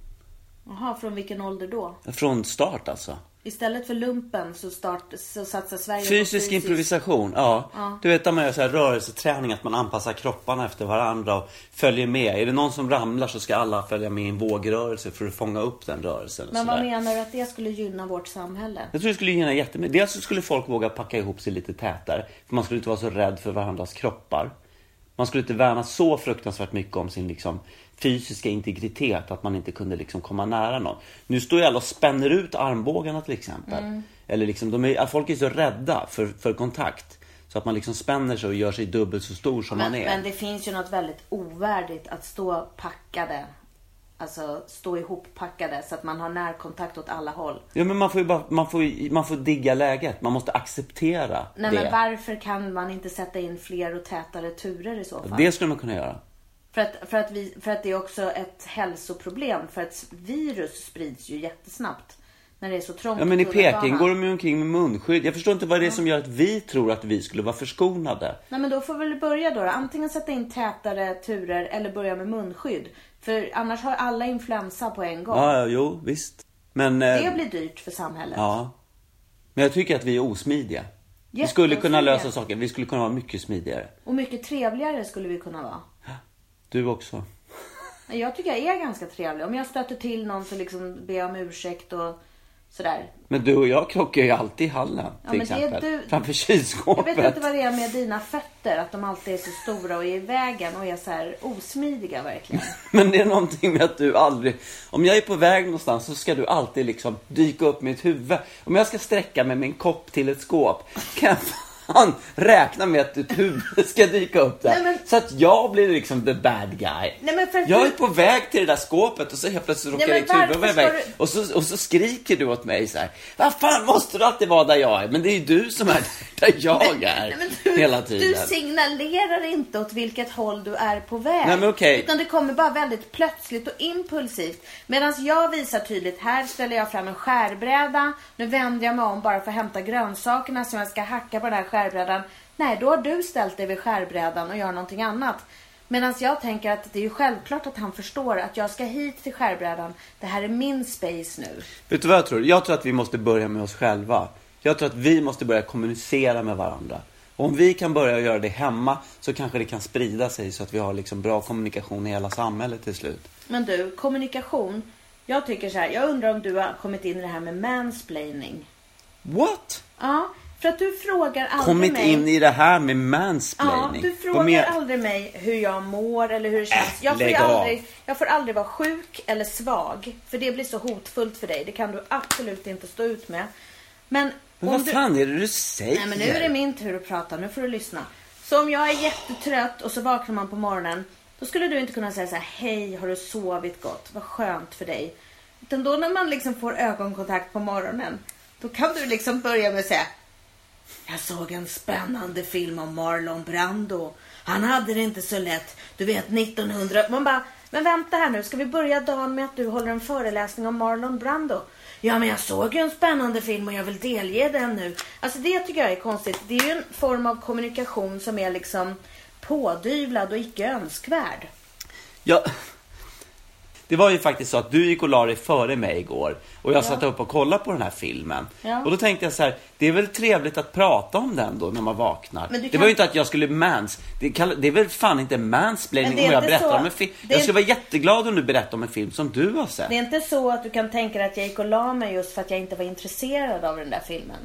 Speaker 1: Jaha, från vilken ålder då?
Speaker 2: Från start alltså.
Speaker 1: Istället för lumpen så, start, så satsar Sverige på
Speaker 2: Fysisk improvisation, ja. Du vet när man gör så här rörelseträning, att man anpassar kropparna efter varandra och följer med. Är det någon som ramlar så ska alla följa med i en vågrörelse för att fånga upp den rörelsen. och
Speaker 1: Men vad
Speaker 2: sådär.
Speaker 1: menar du att det skulle gynna vårt samhälle?
Speaker 2: Jag tror det skulle gynna jättemycket. Dels så skulle folk våga packa ihop sig lite tätare. För man skulle inte vara så rädd för varandras kroppar. Man skulle inte värna så fruktansvärt mycket om sin liksom, fysiska integritet att man inte kunde liksom, komma nära någon. Nu står ju alla och spänner ut armbågarna till exempel.
Speaker 1: Mm.
Speaker 2: Eller liksom, de är, folk är så rädda för, för kontakt. Så att man liksom spänner sig och gör sig dubbelt så stor som
Speaker 1: Men,
Speaker 2: man är.
Speaker 1: men det finns ju något väldigt ovärdigt att stå packade alltså, stå ihoppackade så att man har närkontakt åt alla håll.
Speaker 2: Ja, men man får ju bara, man får, ju- man får digga läget. Man måste acceptera
Speaker 1: Nej,
Speaker 2: det.
Speaker 1: men varför kan man inte sätta in fler och tätare turer i så fall?
Speaker 2: Det skulle man kunna göra.
Speaker 1: För, att, för, att vi, för att det är också ett hälsoproblem. För att virus sprids ju jättesnabbt. När det är så trångt
Speaker 2: Ja, men i
Speaker 1: tunnelbanan.
Speaker 2: Peking går de ju omkring med munskydd. Jag förstår inte vad det är som gör att vi tror att vi skulle vara förskonade.
Speaker 1: Nej men då får vi väl börja då. Antingen sätta in tätare turer eller börja med munskydd. För annars har alla influensa på en gång.
Speaker 2: Ja, ja jo, visst. Men... eh,
Speaker 1: Det blir dyrt för samhället.
Speaker 2: Ja. Men jag tycker att vi är osmidiga. Vi skulle kunna
Speaker 1: Jätteosmidiga.
Speaker 2: lösa saker. Vi skulle kunna vara mycket smidigare.
Speaker 1: Och mycket trevligare skulle vi kunna vara.
Speaker 2: Du också.
Speaker 1: Men Jag tycker jag är ganska trevlig. Om jag stöter till någon så liksom ber jag om ursäkt och sådär.
Speaker 2: Men du och jag krockar ju alltid i hallen.
Speaker 1: Ja,
Speaker 2: till
Speaker 1: men det är
Speaker 2: exempel.
Speaker 1: du-
Speaker 2: Framför
Speaker 1: Jag
Speaker 2: kylskåpet.
Speaker 1: vet inte vad det är med dina fötter. Att de alltid är så stora och är i vägen och är så här osmidiga verkligen.
Speaker 2: (laughs) Men det är någonting med att du aldrig... Om jag är på väg någonstans så ska du alltid liksom dyka upp mitt huvud. Om jag ska sträcka mig med en kopp till ett skåp kan jag fan räkna med att ditt huvud ska dyka upp där.
Speaker 1: Nej, men-
Speaker 2: Så att jag blir liksom the bad guy.
Speaker 1: Nej, men för att
Speaker 2: Jag
Speaker 1: du-
Speaker 2: är på väg till det där skåpet och så helt plötsligt råkar
Speaker 1: men
Speaker 2: ditt huvud vara
Speaker 1: varför
Speaker 2: iväg.
Speaker 1: ska du-
Speaker 2: Och så, och så skriker du åt mig så här. Vad fan måste du alltid vara där jag är? Men det är ju du som är (laughs) där jag är
Speaker 1: Nej, men du,
Speaker 2: (laughs) hela tiden.
Speaker 1: Du signalerar inte åt vilket håll du är på väg.
Speaker 2: Nej, men okej.
Speaker 1: Utan det kommer bara väldigt plötsligt och impulsivt. Medan jag visar tydligt, här ställer jag fram en skärbräda. Nu vänder jag mig om bara för att hämta grönsakerna som jag ska hacka på den här skärbrädan. Nej, då har du ställt dig vid skärbrädan och gör någonting annat. Medan jag tänker att det är ju självklart att han förstår att jag ska hit till skärbrädan. Det här är min space nu.
Speaker 2: Vet du vad jag tror? Jag tror att vi måste börja med oss själva. Jag tror att vi måste börja kommunicera med varandra. Och om vi kan börja göra det hemma så kanske det kan sprida sig så att vi har liksom bra kommunikation i hela samhället till slut.
Speaker 1: Men du, kommunikation. Jag tycker så här, jag undrar om du har kommit in i det här med mansplaining.
Speaker 2: What?
Speaker 1: Ja, för att du frågar aldrig
Speaker 2: Kommit
Speaker 1: mig.
Speaker 2: in i det här med
Speaker 1: Ja,
Speaker 2: mansplaining.
Speaker 1: du
Speaker 2: Vad
Speaker 1: frågar
Speaker 2: mer-
Speaker 1: aldrig mig hur jag mår eller hur det känns.
Speaker 2: Äh,
Speaker 1: jag, får ju
Speaker 2: lägg av.
Speaker 1: aldrig, jag får aldrig vara sjuk eller svag. För det blir så hotfullt för dig. Det kan du absolut inte stå ut med. Men,
Speaker 2: Men
Speaker 1: om
Speaker 2: vad
Speaker 1: du...
Speaker 2: fan är det du säger?
Speaker 1: Nej men nu är det min tur att prata, nu får du lyssna. Så om jag är jättetrött och så vaknar man på morgonen. Då skulle du inte kunna säga så här, hej har du sovit gott, vad skönt för dig. Utan då när man liksom får ögonkontakt på morgonen. Då kan du liksom börja med att säga, jag såg en spännande film om Marlon Brando. Han hade det inte så lätt. Du vet 1900... Man bara, men vänta här nu, ska vi börja dagen med att du håller en föreläsning om Marlon Brando? Ja, men jag såg ju en spännande film och jag vill delge den nu. Alltså det tycker jag är konstigt. Det är ju en form av kommunikation som är liksom pådyvlad och icke önskvärd.
Speaker 2: Ja. Det var ju faktiskt så att du gick och la dig före mig igår och jag satt upp och kollade på den här filmen.
Speaker 1: Ja.
Speaker 2: Och då tänkte jag så här, det är väl trevligt att prata om den då när man vaknar.
Speaker 1: Men du
Speaker 2: Det
Speaker 1: kan-
Speaker 2: var ju inte att jag skulle mans... Det, kall... det är väl fan inte
Speaker 1: Men
Speaker 2: mansplaining
Speaker 1: det är
Speaker 2: om jag
Speaker 1: inte
Speaker 2: berättar
Speaker 1: så-
Speaker 2: om en film.
Speaker 1: det är
Speaker 2: Jag skulle vara
Speaker 1: inte-
Speaker 2: jätteglad om du berättar om en film som du har sett.
Speaker 1: Det är inte så att du kan tänka dig att jag gick och la mig just för att jag inte var intresserad av den där filmen.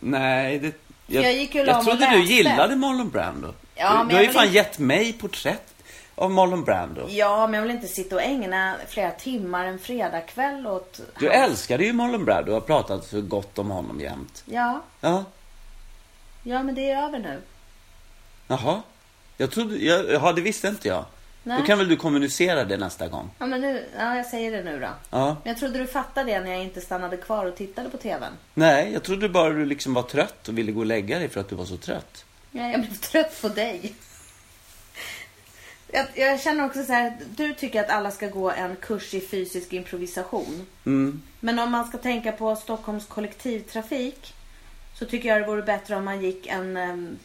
Speaker 2: Nej, det...
Speaker 1: Jag gick ju och la
Speaker 2: jag
Speaker 1: mig och
Speaker 2: trodde du
Speaker 1: läste.
Speaker 2: gillade Marlon Brando.
Speaker 1: Ja,
Speaker 2: du
Speaker 1: men
Speaker 2: du
Speaker 1: jag
Speaker 2: har ju
Speaker 1: vill
Speaker 2: fan
Speaker 1: inte-
Speaker 2: gett mig porträtt av Marlon Brando.
Speaker 1: Ja, men jag vill inte sitta och ägna flera timmar en fredagkväll åt...
Speaker 2: Du älskade ju Marlon Brando och har pratat så gott om honom jämt.
Speaker 1: Ja,
Speaker 2: Ja.
Speaker 1: ja men det är över nu.
Speaker 2: Jaha. Jag trodde, jag, jaha, det visste inte jag.
Speaker 1: Nej.
Speaker 2: Då kan väl du kommunicera det nästa gång?
Speaker 1: Ja, men nu, ja, jag säger det nu då.
Speaker 2: Ja.
Speaker 1: Men jag trodde du fattade det när jag inte stannade kvar och tittade på TVn.
Speaker 2: Nej, jag trodde bara du liksom var trött och ville gå och lägga dig för att du var så trött.
Speaker 1: Nej, jag blev trött på dig. Jag, jag känner också så här, du tycker att alla ska gå en kurs i fysisk improvisation.
Speaker 2: Mm.
Speaker 1: Men om man ska tänka på Stockholms kollektivtrafik så tycker jag det vore bättre om man gick en em,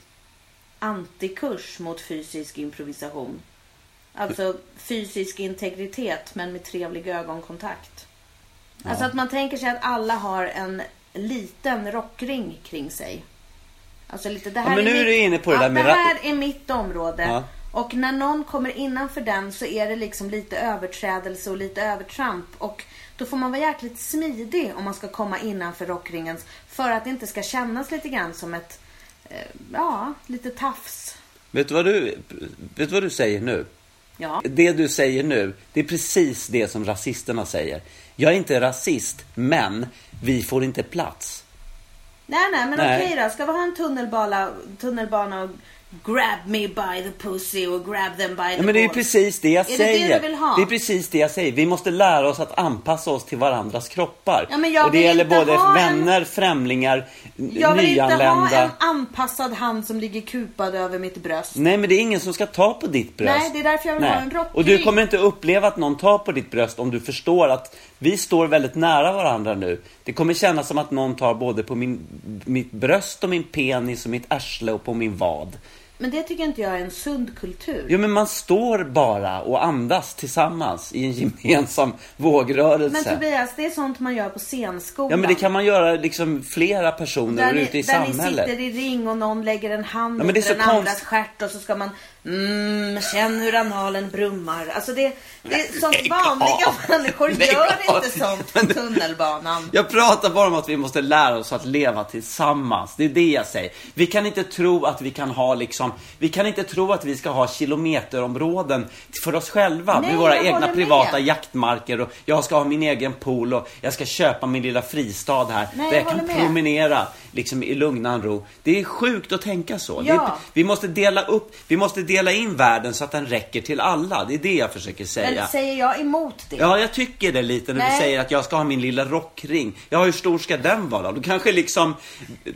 Speaker 1: antikurs mot fysisk improvisation. Alltså fysisk integritet men med trevlig ögonkontakt. Alltså att man tänker sig att alla har en liten rockring kring sig. Alltså lite, det här
Speaker 2: men nu
Speaker 1: mitt,
Speaker 2: är du inne på det
Speaker 1: ja,
Speaker 2: där med
Speaker 1: det
Speaker 2: ra-
Speaker 1: här är mitt område.
Speaker 2: Ja.
Speaker 1: Och när någon kommer innanför den så är det liksom lite överträdelse och lite övertramp. Och då får man vara jäkligt smidig om man ska komma innanför rockringens. För att det inte ska kännas lite grann som ett, eh, ja, lite tafs.
Speaker 2: Vet du vad du, vet du, vad du säger nu?
Speaker 1: Ja.
Speaker 2: Det du säger nu, det är precis det som rasisterna säger. Jag är inte rasist, men vi får inte plats.
Speaker 1: Nej, nej, men
Speaker 2: Nej.
Speaker 1: okej då. Ska vi ha en tunnelbana, tunnelbana och Grab me by the pussy och grab them by the
Speaker 2: Ja, men det är ju
Speaker 1: balls.
Speaker 2: precis det jag
Speaker 1: Är det det
Speaker 2: säger.
Speaker 1: du vill ha?
Speaker 2: är precis det jag säger. Vi måste lära oss att anpassa oss till varandras kroppar.
Speaker 1: Ja, men jag
Speaker 2: och det
Speaker 1: vill
Speaker 2: gäller
Speaker 1: inte
Speaker 2: både
Speaker 1: ha en-
Speaker 2: vänner, främlingar, n-
Speaker 1: Jag vill inte
Speaker 2: nyanlända.
Speaker 1: ha en anpassad hand som ligger kupad över mitt bröst.
Speaker 2: Nej, men det är ingen som ska ta på ditt bröst.
Speaker 1: Nej, det är därför jag vill ha en rockring.
Speaker 2: Och du kommer inte uppleva att någon tar på ditt bröst om du förstår att vi står väldigt nära varandra nu. Det kommer kännas som att någon tar både på min, mitt bröst och min penis och mitt arsle och på min vad.
Speaker 1: Men det tycker inte jag är en sund kultur.
Speaker 2: Jo, men man står bara och andas tillsammans i en (laughs) gemensam vågrörelse.
Speaker 1: men Tobias, det är sånt man gör på scenskolan.
Speaker 2: Alltså. Ja, men det kan man göra liksom flera personer
Speaker 1: där
Speaker 2: och
Speaker 1: ni,
Speaker 2: ute i
Speaker 1: där
Speaker 2: samhället.
Speaker 1: ni sitter i ring och någon lägger en hand
Speaker 2: Ja, men det är
Speaker 1: under
Speaker 2: så
Speaker 1: den
Speaker 2: konst-
Speaker 1: andras stjärt och så ska man mm, känn hur analen brummar. Alltså det, det är sånt vanliga människor
Speaker 2: Lägg
Speaker 1: gör
Speaker 2: av.
Speaker 1: inte sånt på tunnelbanan.
Speaker 2: Jag pratar bara om att vi måste lära oss att leva tillsammans. Det är det jag säger. Vi kan inte tro att vi kan ha liksom, vi kan inte tro att vi ska ha kilometerområden för oss själva
Speaker 1: Nej,
Speaker 2: med våra
Speaker 1: jag
Speaker 2: egna
Speaker 1: håller med.
Speaker 2: privata jaktmarker och jag ska ha min egen pool och jag ska köpa min lilla fristad här
Speaker 1: Nej,
Speaker 2: där
Speaker 1: jag
Speaker 2: jag kan
Speaker 1: håller med.
Speaker 2: promenera liksom i lugnan ro. Det är sjukt att tänka så. Det är,
Speaker 1: Ja.
Speaker 2: vi måste dela upp, vi måste dela in världen så att den räcker till alla. Det är det jag försöker säga.
Speaker 1: Men säger jag emot det?
Speaker 2: Ja, jag tycker det lite när du
Speaker 1: Nej.
Speaker 2: säger att jag ska ha min lilla rockring. Ja, hur stor ska den vara då? Då kanske liksom,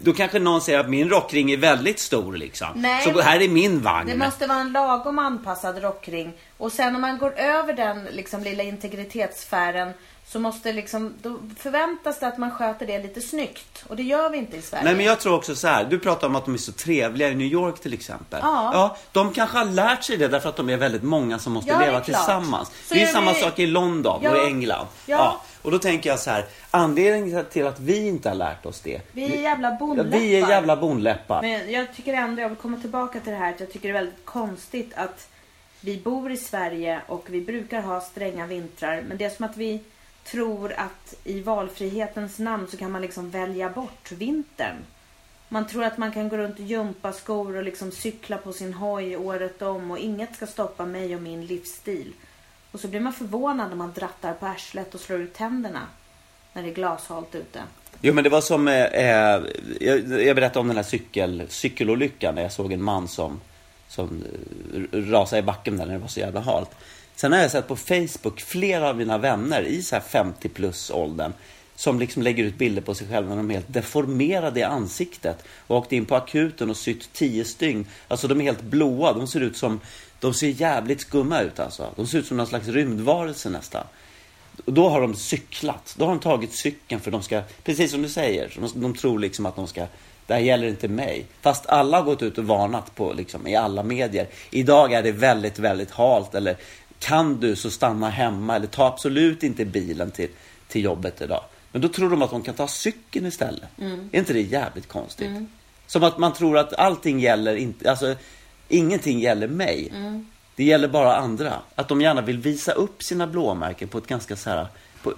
Speaker 2: då kanske någon säger att min rockring är väldigt stor liksom.
Speaker 1: Nej,
Speaker 2: Så
Speaker 1: men-
Speaker 2: här är min vagn.
Speaker 1: Det måste vara en lagom anpassad rockring. Och sen om man går över den liksom, lilla integritetssfären så måste liksom, då förväntas det att man sköter det lite snyggt. Och det gör vi inte i Sverige.
Speaker 2: Nej men jag tror också så här. du pratar om att de är så trevliga i New York till exempel.
Speaker 1: Ja.
Speaker 2: de kanske har lärt sig det därför att de är väldigt många som måste
Speaker 1: Ja, det är
Speaker 2: leva
Speaker 1: klart.
Speaker 2: tillsammans.
Speaker 1: Så
Speaker 2: det är
Speaker 1: är
Speaker 2: samma
Speaker 1: det-
Speaker 2: sak i London
Speaker 1: Ja.
Speaker 2: och i England.
Speaker 1: Ja.
Speaker 2: Och då tänker jag så här. anledningen till att vi inte har lärt oss det.
Speaker 1: Vi är jävla
Speaker 2: Ja,
Speaker 1: bondläppar.
Speaker 2: vi är jävla bonläppar.
Speaker 1: Men jag tycker ändå, jag vill komma tillbaka till det här, att jag tycker det är väldigt konstigt att vi bor i Sverige och vi brukar ha stränga vintrar. Men det är som att vi tror att i valfrihetens namn så kan man liksom välja bort vintern. Man tror att man kan gå runt i gympaskor och liksom cykla på sin hoj året om och inget ska stoppa mig och min livsstil. Och så blir man förvånad när man drattar på arslet och slår ut tänderna när det är glashalt ute.
Speaker 2: Jo men det var som, eh, eh, jag, jag berättade om den här cykel, cykelolyckan när jag såg en man som, som eh, rasade i backen där när det var så jävla halt. Sen har jag sett på Facebook flera av mina vänner i så här 50 plus åldern som liksom lägger ut bilder på sig själva när de är helt deformerade i ansiktet och åkt in på akuten och sytt 10 stygn. Alltså de är helt blåa, de ser ut som, de ser jävligt skumma ut alltså. De ser ut som någon slags rymdvarelse nästan. Och då har de cyklat. Då har de tagit cykeln för de ska, precis som du säger, de, de tror liksom att de ska, det här gäller inte mig. Fast alla har gått ut och varnat på, liksom, i alla medier. Idag är det väldigt, väldigt halt eller kan du så stanna hemma eller ta absolut inte bilen till, till jobbet idag. Men då tror de att de kan ta cykeln istället. Är inte det jävligt konstigt? Som att man tror att allting gäller inte, alltså ingenting gäller mig. Det gäller bara andra. Att de gärna vill visa upp sina blåmärken på ett ganska så här, på,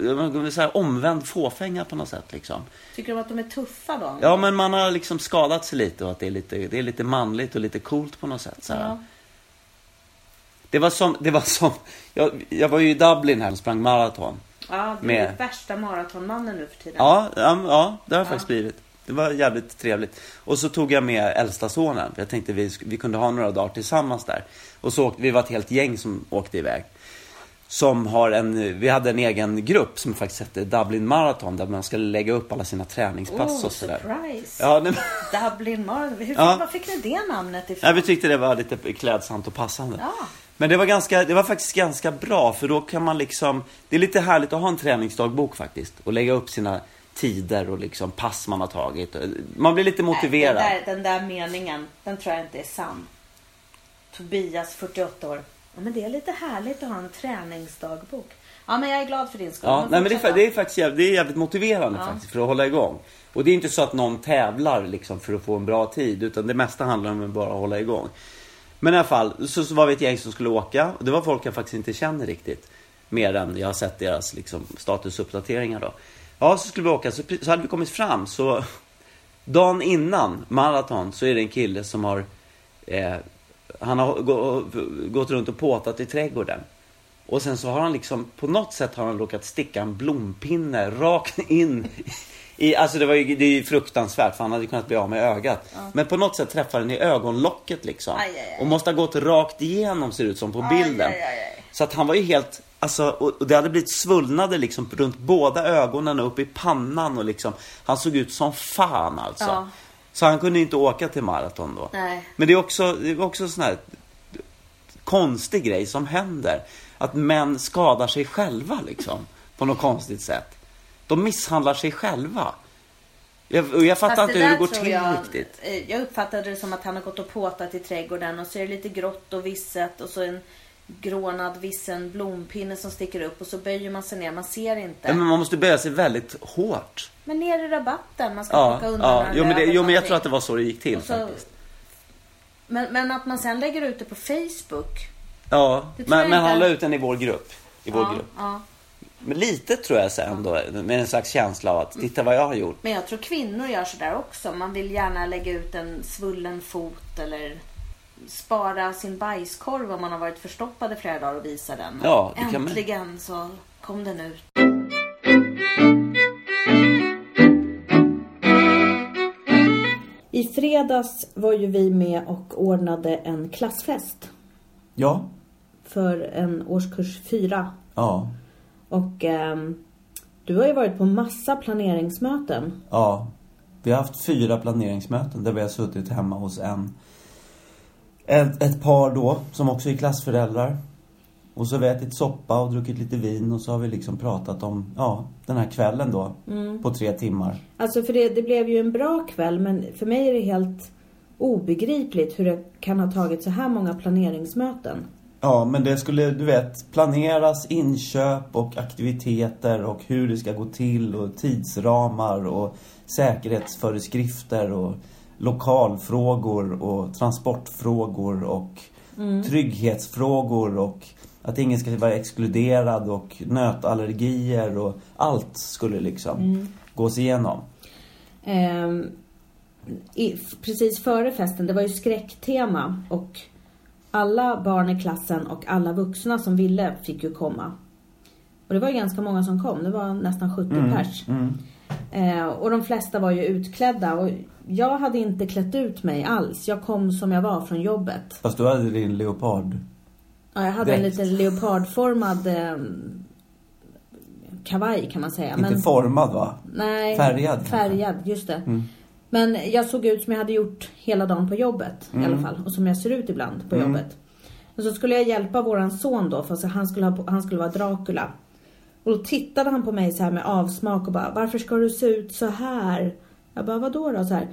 Speaker 2: så här omvänd fåfänga på något sätt liksom.
Speaker 1: Tycker de att de är tuffa då?
Speaker 2: Ja men man har liksom skadat sig lite och att det är lite, det är lite manligt och lite coolt på något sätt så här.
Speaker 1: Ja.
Speaker 2: Det var som, det var som, jag, jag var ju i Dublin här och sprang maraton.
Speaker 1: Ja, du
Speaker 2: med-
Speaker 1: är värsta maratonmannen nu för tiden.
Speaker 2: Ja, ja, ja det har jag faktiskt blivit. Det var jävligt trevligt. Och så tog jag med äldsta sonen. Jag tänkte vi, sk- vi kunde ha några dagar tillsammans där. Och så åkte, vi var ett helt gäng som åkte iväg. Som har en, vi hade en egen grupp som faktiskt hette Dublin Marathon där man skulle lägga upp alla sina träningspass
Speaker 1: oh,
Speaker 2: och sådär.
Speaker 1: surprise!
Speaker 2: Ja, nej, men-
Speaker 1: Dublin Marathon. Hur,
Speaker 2: Ja.
Speaker 1: Var fick ni det namnet ifrån?
Speaker 2: Nej, vi tyckte det var lite klädsamt och passande.
Speaker 1: Ja.
Speaker 2: Men det var, ganska, det var faktiskt ganska bra för då kan man liksom, det är lite härligt att ha en träningsdagbok faktiskt och lägga upp sina tider och liksom pass man har tagit. Man blir lite motiverad.
Speaker 1: Nej, den, där, den där meningen, den tror jag inte är sann. Tobias, 48 år. Ja, men det är lite härligt att ha en träningsdagbok. Ja, men jag är glad för din skull.
Speaker 2: Ja, nej, men det, är,
Speaker 1: fortsätt
Speaker 2: fa- det är faktiskt jävligt, det är jävligt motiverande faktiskt för att hålla igång. Och det är inte så att någon tävlar liksom för att få en bra tid utan det mesta handlar om att bara hålla igång. Men i alla fall så, så var vi ett gäng som skulle åka och det var folk jag faktiskt inte känner riktigt. Mer än jag har sett deras liksom, statusuppdateringar då. Ja, så skulle vi åka så, så hade vi kommit fram så dagen innan maraton så är det en kille som har eh, han har gå- gått runt och påtat i trädgården. Och sen så har han liksom, på något sätt har han råkat sticka en blompinne rakt in
Speaker 6: i, alltså det, var ju, det är ju fruktansvärt för han hade kunnat bli av med ögat. Men på något sätt träffar den i ögonlocket liksom.
Speaker 7: Aj, aj, aj.
Speaker 6: Och måste ha gått rakt igenom ser det ut som på bilden.
Speaker 7: aj, aj, aj.
Speaker 6: Så att han var ju helt, alltså, och och det hade blivit svullnader liksom runt båda ögonen och upp i pannan och liksom. Han såg ut som fan alltså.
Speaker 7: Ja.
Speaker 6: Så han kunde ju inte åka till maraton då.
Speaker 7: Nej.
Speaker 6: Men det är också, det är också sån här konstig grej som händer. Att män skadar sig själva liksom. På något konstigt sätt. De misshandlar sig själva. Jag, och jag fattar
Speaker 7: Fast
Speaker 6: inte hur
Speaker 7: där
Speaker 6: det går
Speaker 7: tror
Speaker 6: till
Speaker 7: jag,
Speaker 6: riktigt.
Speaker 7: eh, Jag uppfattade det som att han har gått och påtat i trädgården och så är det lite grått och visset och så en grånad vissen blompinne som sticker upp och så böjer man sig ner, man ser inte.
Speaker 6: Ja, Men man måste böja sig väldigt hårt.
Speaker 7: Men ner i rabatten, man ska
Speaker 6: Ja,
Speaker 7: plocka undan
Speaker 6: ja.
Speaker 7: några
Speaker 6: Jo, men det,
Speaker 7: löv och
Speaker 6: jo, men jag
Speaker 7: någonting.
Speaker 6: tror att det var så det gick till
Speaker 7: Och så,
Speaker 6: faktiskt.
Speaker 7: men, men att man sen lägger ut det på Facebook.
Speaker 6: Ja,
Speaker 7: Det tror jag
Speaker 6: men, men
Speaker 7: inte.
Speaker 6: han la ut den i vår grupp. I vår
Speaker 7: Ja,
Speaker 6: grupp.
Speaker 7: ja.
Speaker 6: Men lite tror jag så här ändå, med en slags känsla av att titta vad jag har gjort.
Speaker 7: Men jag tror kvinnor gör sådär också. Man vill gärna lägga ut en svullen fot eller spara sin bajskorv om man har varit förstoppad i flera dagar och visa den.
Speaker 6: Ja, det kan man.
Speaker 7: Äntligen så kom den ut.
Speaker 1: I fredags var ju vi med och ordnade en klassfest
Speaker 2: Ja,
Speaker 1: för en årskurs fyra.
Speaker 2: ja,
Speaker 1: Och ehm, du har ju varit på massa planeringsmöten.
Speaker 2: ja. Vi har haft fyra planeringsmöten där vi har suttit hemma hos en... Ett, ett par då, som också är klassföräldrar. Och så har vi ätit soppa och druckit lite vin och så har vi liksom pratat om, ja, den här kvällen då.
Speaker 1: Mm.
Speaker 2: På tre timmar.
Speaker 1: Alltså för det, det blev ju en bra kväll men för mig är det helt obegripligt hur det kan ha tagit så här många planeringsmöten.
Speaker 2: Ja, men det skulle, du vet, planeras inköp och aktiviteter och hur det ska gå till och tidsramar och säkerhetsföreskrifter och lokalfrågor och transportfrågor och
Speaker 1: Mm.
Speaker 2: trygghetsfrågor och att ingen ska vara exkluderad och nötallergier och allt skulle liksom
Speaker 1: Mm.
Speaker 2: gås igenom.
Speaker 1: Ehm, i, f- precis före festen, det var ju skräcktema och alla barn i klassen och alla vuxna som ville fick ju komma. Och det var ju ganska många som kom, det var nästan 70
Speaker 2: Mm,
Speaker 1: pers. Eh, och de flesta var ju utklädda och jag hade inte klätt ut mig alls. Jag kom som jag var från jobbet.
Speaker 2: Fast du hade din leopard.
Speaker 1: Ja, jag hade
Speaker 2: Direkt.
Speaker 1: en liten leopardformad eh, kavaj kan man säga.
Speaker 2: Inte formad va?
Speaker 1: Nej,
Speaker 2: Färgad kanske? Mm.
Speaker 1: Färgad, just det. Men jag såg ut som jag hade gjort hela dagen på jobbet i
Speaker 2: Mm.
Speaker 1: alla fall. Och som jag ser ut ibland på jobbet. Och så skulle jag hjälpa våran son då, för så han, skulle ha, han skulle vara Dracula. Och då tittade han på mig så här med avsmak och bara, varför ska du se ut så här? Jag bara, vadå då? Så här,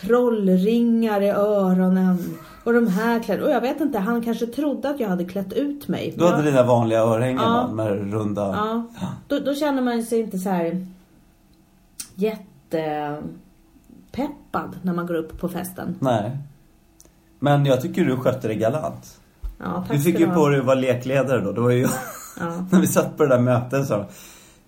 Speaker 1: trollringar i öronen. Och de här kläderna. Och jag vet inte, han kanske trodde att jag hade klätt ut mig.
Speaker 2: Du hade
Speaker 1: jag,
Speaker 2: dina vanliga örhängen
Speaker 1: Ja.
Speaker 2: va? Med runda...
Speaker 1: Ja, då, då känner man sig inte så här jättepeppad när man går upp på festen.
Speaker 2: Nej. Men jag tycker du skötte det galant.
Speaker 1: Ja, tack
Speaker 2: du fick
Speaker 1: ska
Speaker 2: ju
Speaker 1: ha.
Speaker 2: på dig att vara lekledare då. Det var ju jag.
Speaker 1: Ja.
Speaker 2: När vi satt på det där mötet så.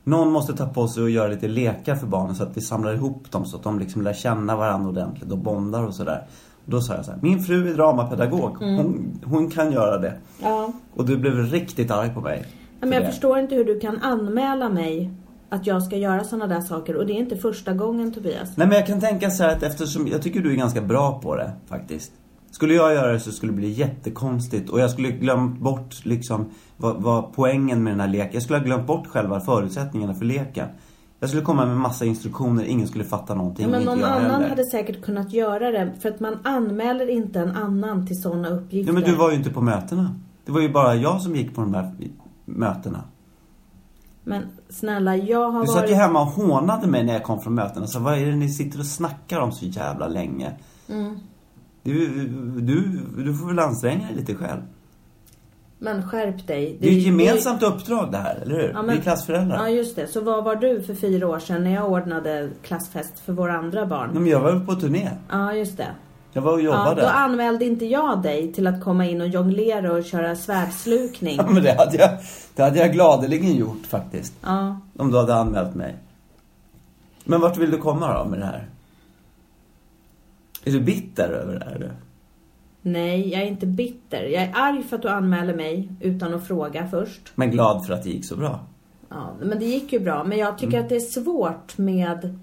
Speaker 2: Någon måste ta på sig och göra lite lekar för barnen så att vi samlar ihop dem så att de liksom lär känna varandra ordentligt och bondar och sådär. Och Då sa jag så här, min fru är dramapedagog.
Speaker 1: Mm.
Speaker 2: Hon, hon kan göra det.
Speaker 1: Ja.
Speaker 2: Och du blev riktigt arg på mig.
Speaker 1: Ja, Men
Speaker 2: för
Speaker 1: jag
Speaker 2: det.
Speaker 1: förstår inte hur du kan anmäla mig att jag ska göra sådana där saker och det är inte första gången Tobias.
Speaker 2: Nej men jag kan tänka så här att eftersom, jag tycker du är ganska bra på det faktiskt. Skulle jag göra det så skulle det bli jättekonstigt och jag skulle glömt bort liksom vad, vad poängen med den här leken, jag skulle ha glömt bort själva förutsättningarna för leken. Jag skulle komma med massa instruktioner, ingen skulle fatta någonting,
Speaker 1: Ja, men
Speaker 2: inte
Speaker 1: någon
Speaker 2: jag
Speaker 1: annan
Speaker 2: heller.
Speaker 1: hade säkert kunnat göra det för att man anmäler inte en annan till sådana uppgifter.
Speaker 2: Ja men du var ju inte på mötena. Det var ju bara jag som gick på de här mötena.
Speaker 1: Men snälla, jag har
Speaker 2: Du satt
Speaker 1: varit...
Speaker 2: ju hemma och hånade mig när jag kom från mötena. Så vad är det ni sitter och snackar om så jävla länge?
Speaker 1: Mm.
Speaker 2: Du, du, du får väl anstränga dig lite själv.
Speaker 1: Men skärp dig.
Speaker 2: Det är ju ett
Speaker 1: det är-
Speaker 2: gemensamt uppdrag det här, eller hur?
Speaker 1: Ja,
Speaker 2: Vi
Speaker 1: men-
Speaker 2: är klassföräldrar.
Speaker 1: Ja,
Speaker 2: Nej,
Speaker 1: just det. Så vad var du för fyra år sedan när jag ordnade klassfest för våra andra barn?
Speaker 2: men jag var ju på turné.
Speaker 1: Ja, just det.
Speaker 2: Jag var och
Speaker 1: Ja,
Speaker 2: jobbade.
Speaker 1: då
Speaker 2: Ja,
Speaker 1: anmälde inte jag dig till att komma in och jonglera och köra
Speaker 2: (laughs)
Speaker 1: svärdslukning.
Speaker 2: men det hade, jag, det hade jag gladeligen gjort faktiskt.
Speaker 1: Ja.
Speaker 2: Om du hade anmält mig. Men vart vill du komma då med det här? Är du bitter över det här du?
Speaker 1: Nej, jag är inte bitter. Jag är arg för att du anmäler mig utan att fråga först.
Speaker 2: Men glad för att det gick så bra.
Speaker 1: Ja, men det gick ju bra. Men jag tycker att det är svårt med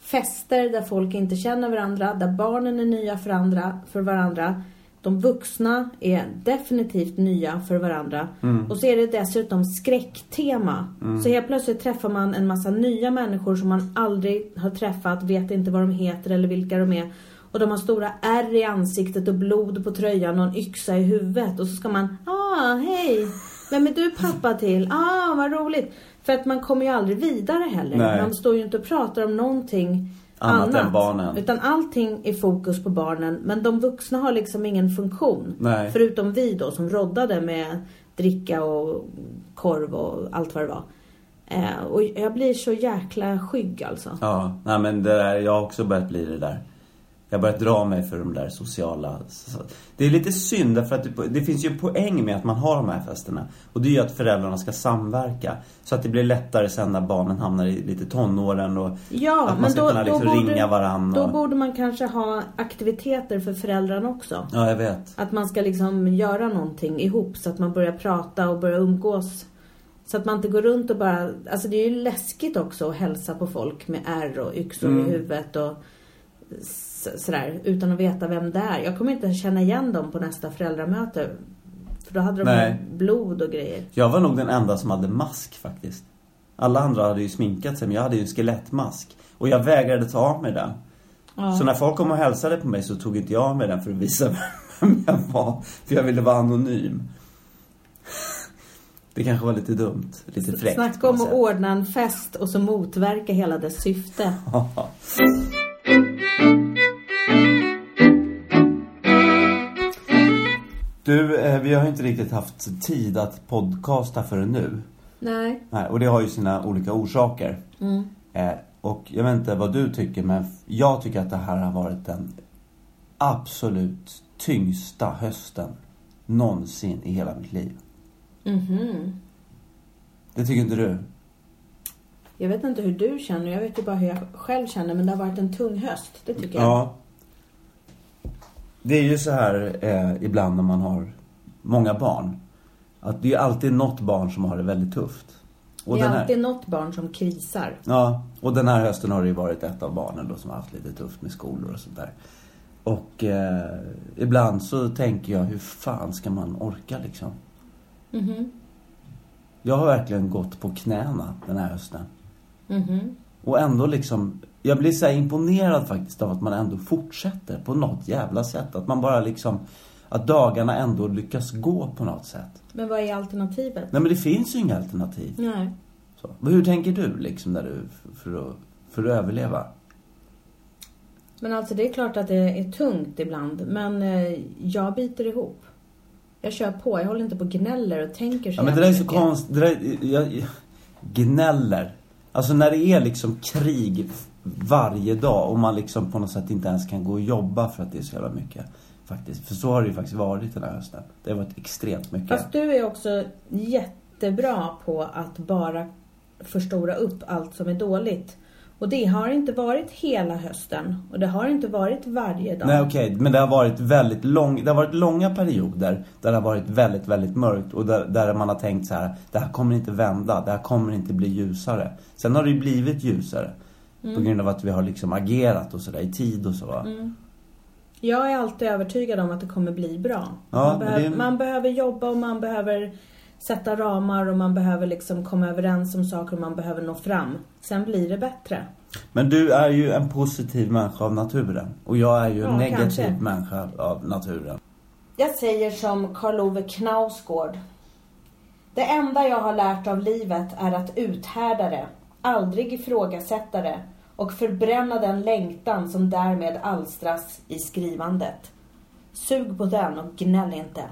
Speaker 1: Fester där folk inte känner varandra, där barnen är nya för, andra, för varandra. De vuxna är definitivt nya för varandra. Och så är det dessutom skräcktema. Så helt plötsligt träffar man en massa nya människor som man aldrig har träffat, vet inte vad de heter eller vilka de är. Och de har stora ärr i ansiktet och blod på tröjan och en yxa i huvudet. Och så ska man, ah, hej! Vem är du pappa till? Ah, vad roligt! För att man kommer ju aldrig vidare heller.
Speaker 2: Nej.
Speaker 1: Man står ju inte och pratar om någonting
Speaker 2: Annat
Speaker 1: annat.
Speaker 2: än barnen.
Speaker 1: Utan allting är fokus på barnen. Men de vuxna har liksom ingen funktion.
Speaker 2: Nej.
Speaker 1: Förutom vi då som roddade med dricka och korv och allt vad det var. Eh, och jag blir så jäkla skygg alltså.
Speaker 2: Ja, nej men det där, jag har också börjat bli det där. Jag har börjat dra mig för de där sociala... Det är lite synd därför att det- det finns ju en poäng med att man har de här festerna. Och det är ju att föräldrarna ska samverka. Så att det blir lättare sen när barnen hamnar i lite tonåren och
Speaker 1: Ja,
Speaker 2: att man
Speaker 1: men
Speaker 2: ska
Speaker 1: då,
Speaker 2: kunna
Speaker 1: då,
Speaker 2: liksom
Speaker 1: borde,
Speaker 2: ringa varandra.
Speaker 1: då
Speaker 2: Och...
Speaker 1: borde man kanske ha aktiviteter för föräldrarna också.
Speaker 2: Ja, jag vet.
Speaker 1: Att man ska liksom göra någonting ihop så att man börjar prata och börjar umgås. Så att man inte går runt och bara... Alltså det är ju läskigt också att hälsa på folk med ärr och yxor
Speaker 2: Mm.
Speaker 1: i huvudet och s- sådär. Utan att veta vem det är. Jag kommer inte känna igen dem på nästa föräldramöte. För då hade de
Speaker 2: Nej.
Speaker 1: ju blod och grejer.
Speaker 2: Jag var nog den enda som hade mask faktiskt. Alla andra hade ju sminkat sig men jag hade ju en skelettmask. Och jag vägrade ta av mig den. Så när folk kom och hälsade på mig så tog inte jag av mig den för att visa (laughs) vem jag var. För jag ville vara anonym. (laughs) Det kanske var lite dumt. Lite fräckt.
Speaker 1: Snacka
Speaker 2: kan
Speaker 1: om
Speaker 2: man
Speaker 1: att
Speaker 2: säga.
Speaker 1: ordna en fest och så motverka hela dess syfte.
Speaker 2: (laughs) Du, eh, vi har ju inte riktigt haft tid att podcasta förrän nu.
Speaker 1: Nej.
Speaker 2: Nej, och det har ju sina olika orsaker.
Speaker 1: Mm.
Speaker 2: Eh, och jag vet inte vad du tycker men f- jag tycker att det här har varit den absolut tyngsta hösten någonsin i hela mitt liv.
Speaker 1: Mhm.
Speaker 2: Det tycker inte du?
Speaker 1: Jag vet inte hur du känner, jag vet ju bara hur jag själv känner. Men det har varit en tung höst, det tycker jag.
Speaker 2: Ja. Det är ju så här eh, ibland när man har många barn. Att det är alltid något barn som har det väldigt tufft. Och
Speaker 1: det är
Speaker 2: den här-
Speaker 1: alltid något barn som krisar.
Speaker 2: Ja, och den här hösten har det ju varit ett av barnen då som har haft lite tufft med skolor och sånt där. Och eh, ibland så tänker jag, hur fan ska man orka liksom? Jag har verkligen gått på knäna den här hösten. Och ändå liksom, jag blir så här imponerad faktiskt av att man ändå fortsätter på något jävla sätt. Att man bara liksom, att dagarna ändå lyckas gå på något sätt.
Speaker 1: Men vad är alternativet?
Speaker 2: Nej men det finns ju inga alternativ.
Speaker 1: Nej.
Speaker 2: Så. Men Hur tänker du liksom när du, f- för att, för att överleva?
Speaker 1: Men alltså det är klart att det är tungt ibland. Men eh, jag biter ihop. Jag kör på, jag håller inte på och gnäller och tänker så
Speaker 2: Ja men
Speaker 1: jävla
Speaker 2: det där är så
Speaker 1: mycket.
Speaker 2: konstigt, det där, jag, jag, gnäller. Alltså när det är liksom krig varje dag och man liksom på något sätt inte ens kan gå och jobba för att det är så jävla mycket. Faktiskt. För så har det ju faktiskt varit den här hösten. Det har varit extremt mycket.
Speaker 1: Fast du är också jättebra på att bara förstora upp allt som är dåligt. Och det har inte varit hela hösten. Och det har inte varit varje dag.
Speaker 2: Nej okej, men det har varit väldigt lång, det har varit långa perioder där det har varit väldigt, väldigt mörkt och där, där man har tänkt så här, det här kommer inte vända, det här kommer inte bli ljusare. Sen har det ju blivit ljusare.
Speaker 1: Mm.
Speaker 2: På grund av att vi har liksom agerat och sådär i tid och så. va?
Speaker 1: Jag är alltid övertygad om att det kommer bli bra.
Speaker 2: Ja,
Speaker 1: man,
Speaker 2: men
Speaker 1: behöver,
Speaker 2: det-
Speaker 1: man behöver jobba och man behöver sätta ramar och man behöver liksom komma överens om saker och man behöver nå fram. Sen blir det bättre.
Speaker 2: Men du är ju en positiv människa av naturen. Och jag är ju en
Speaker 1: Ja,
Speaker 2: negativ
Speaker 1: kanske.
Speaker 2: människa av naturen.
Speaker 1: Jag säger som Karl Ove Knausgård. Det enda jag har lärt av livet är att uthärda det, aldrig ifrågasätta det och förbränna den längtan som därmed alstras i skrivandet. Sug på den och gnäll inte.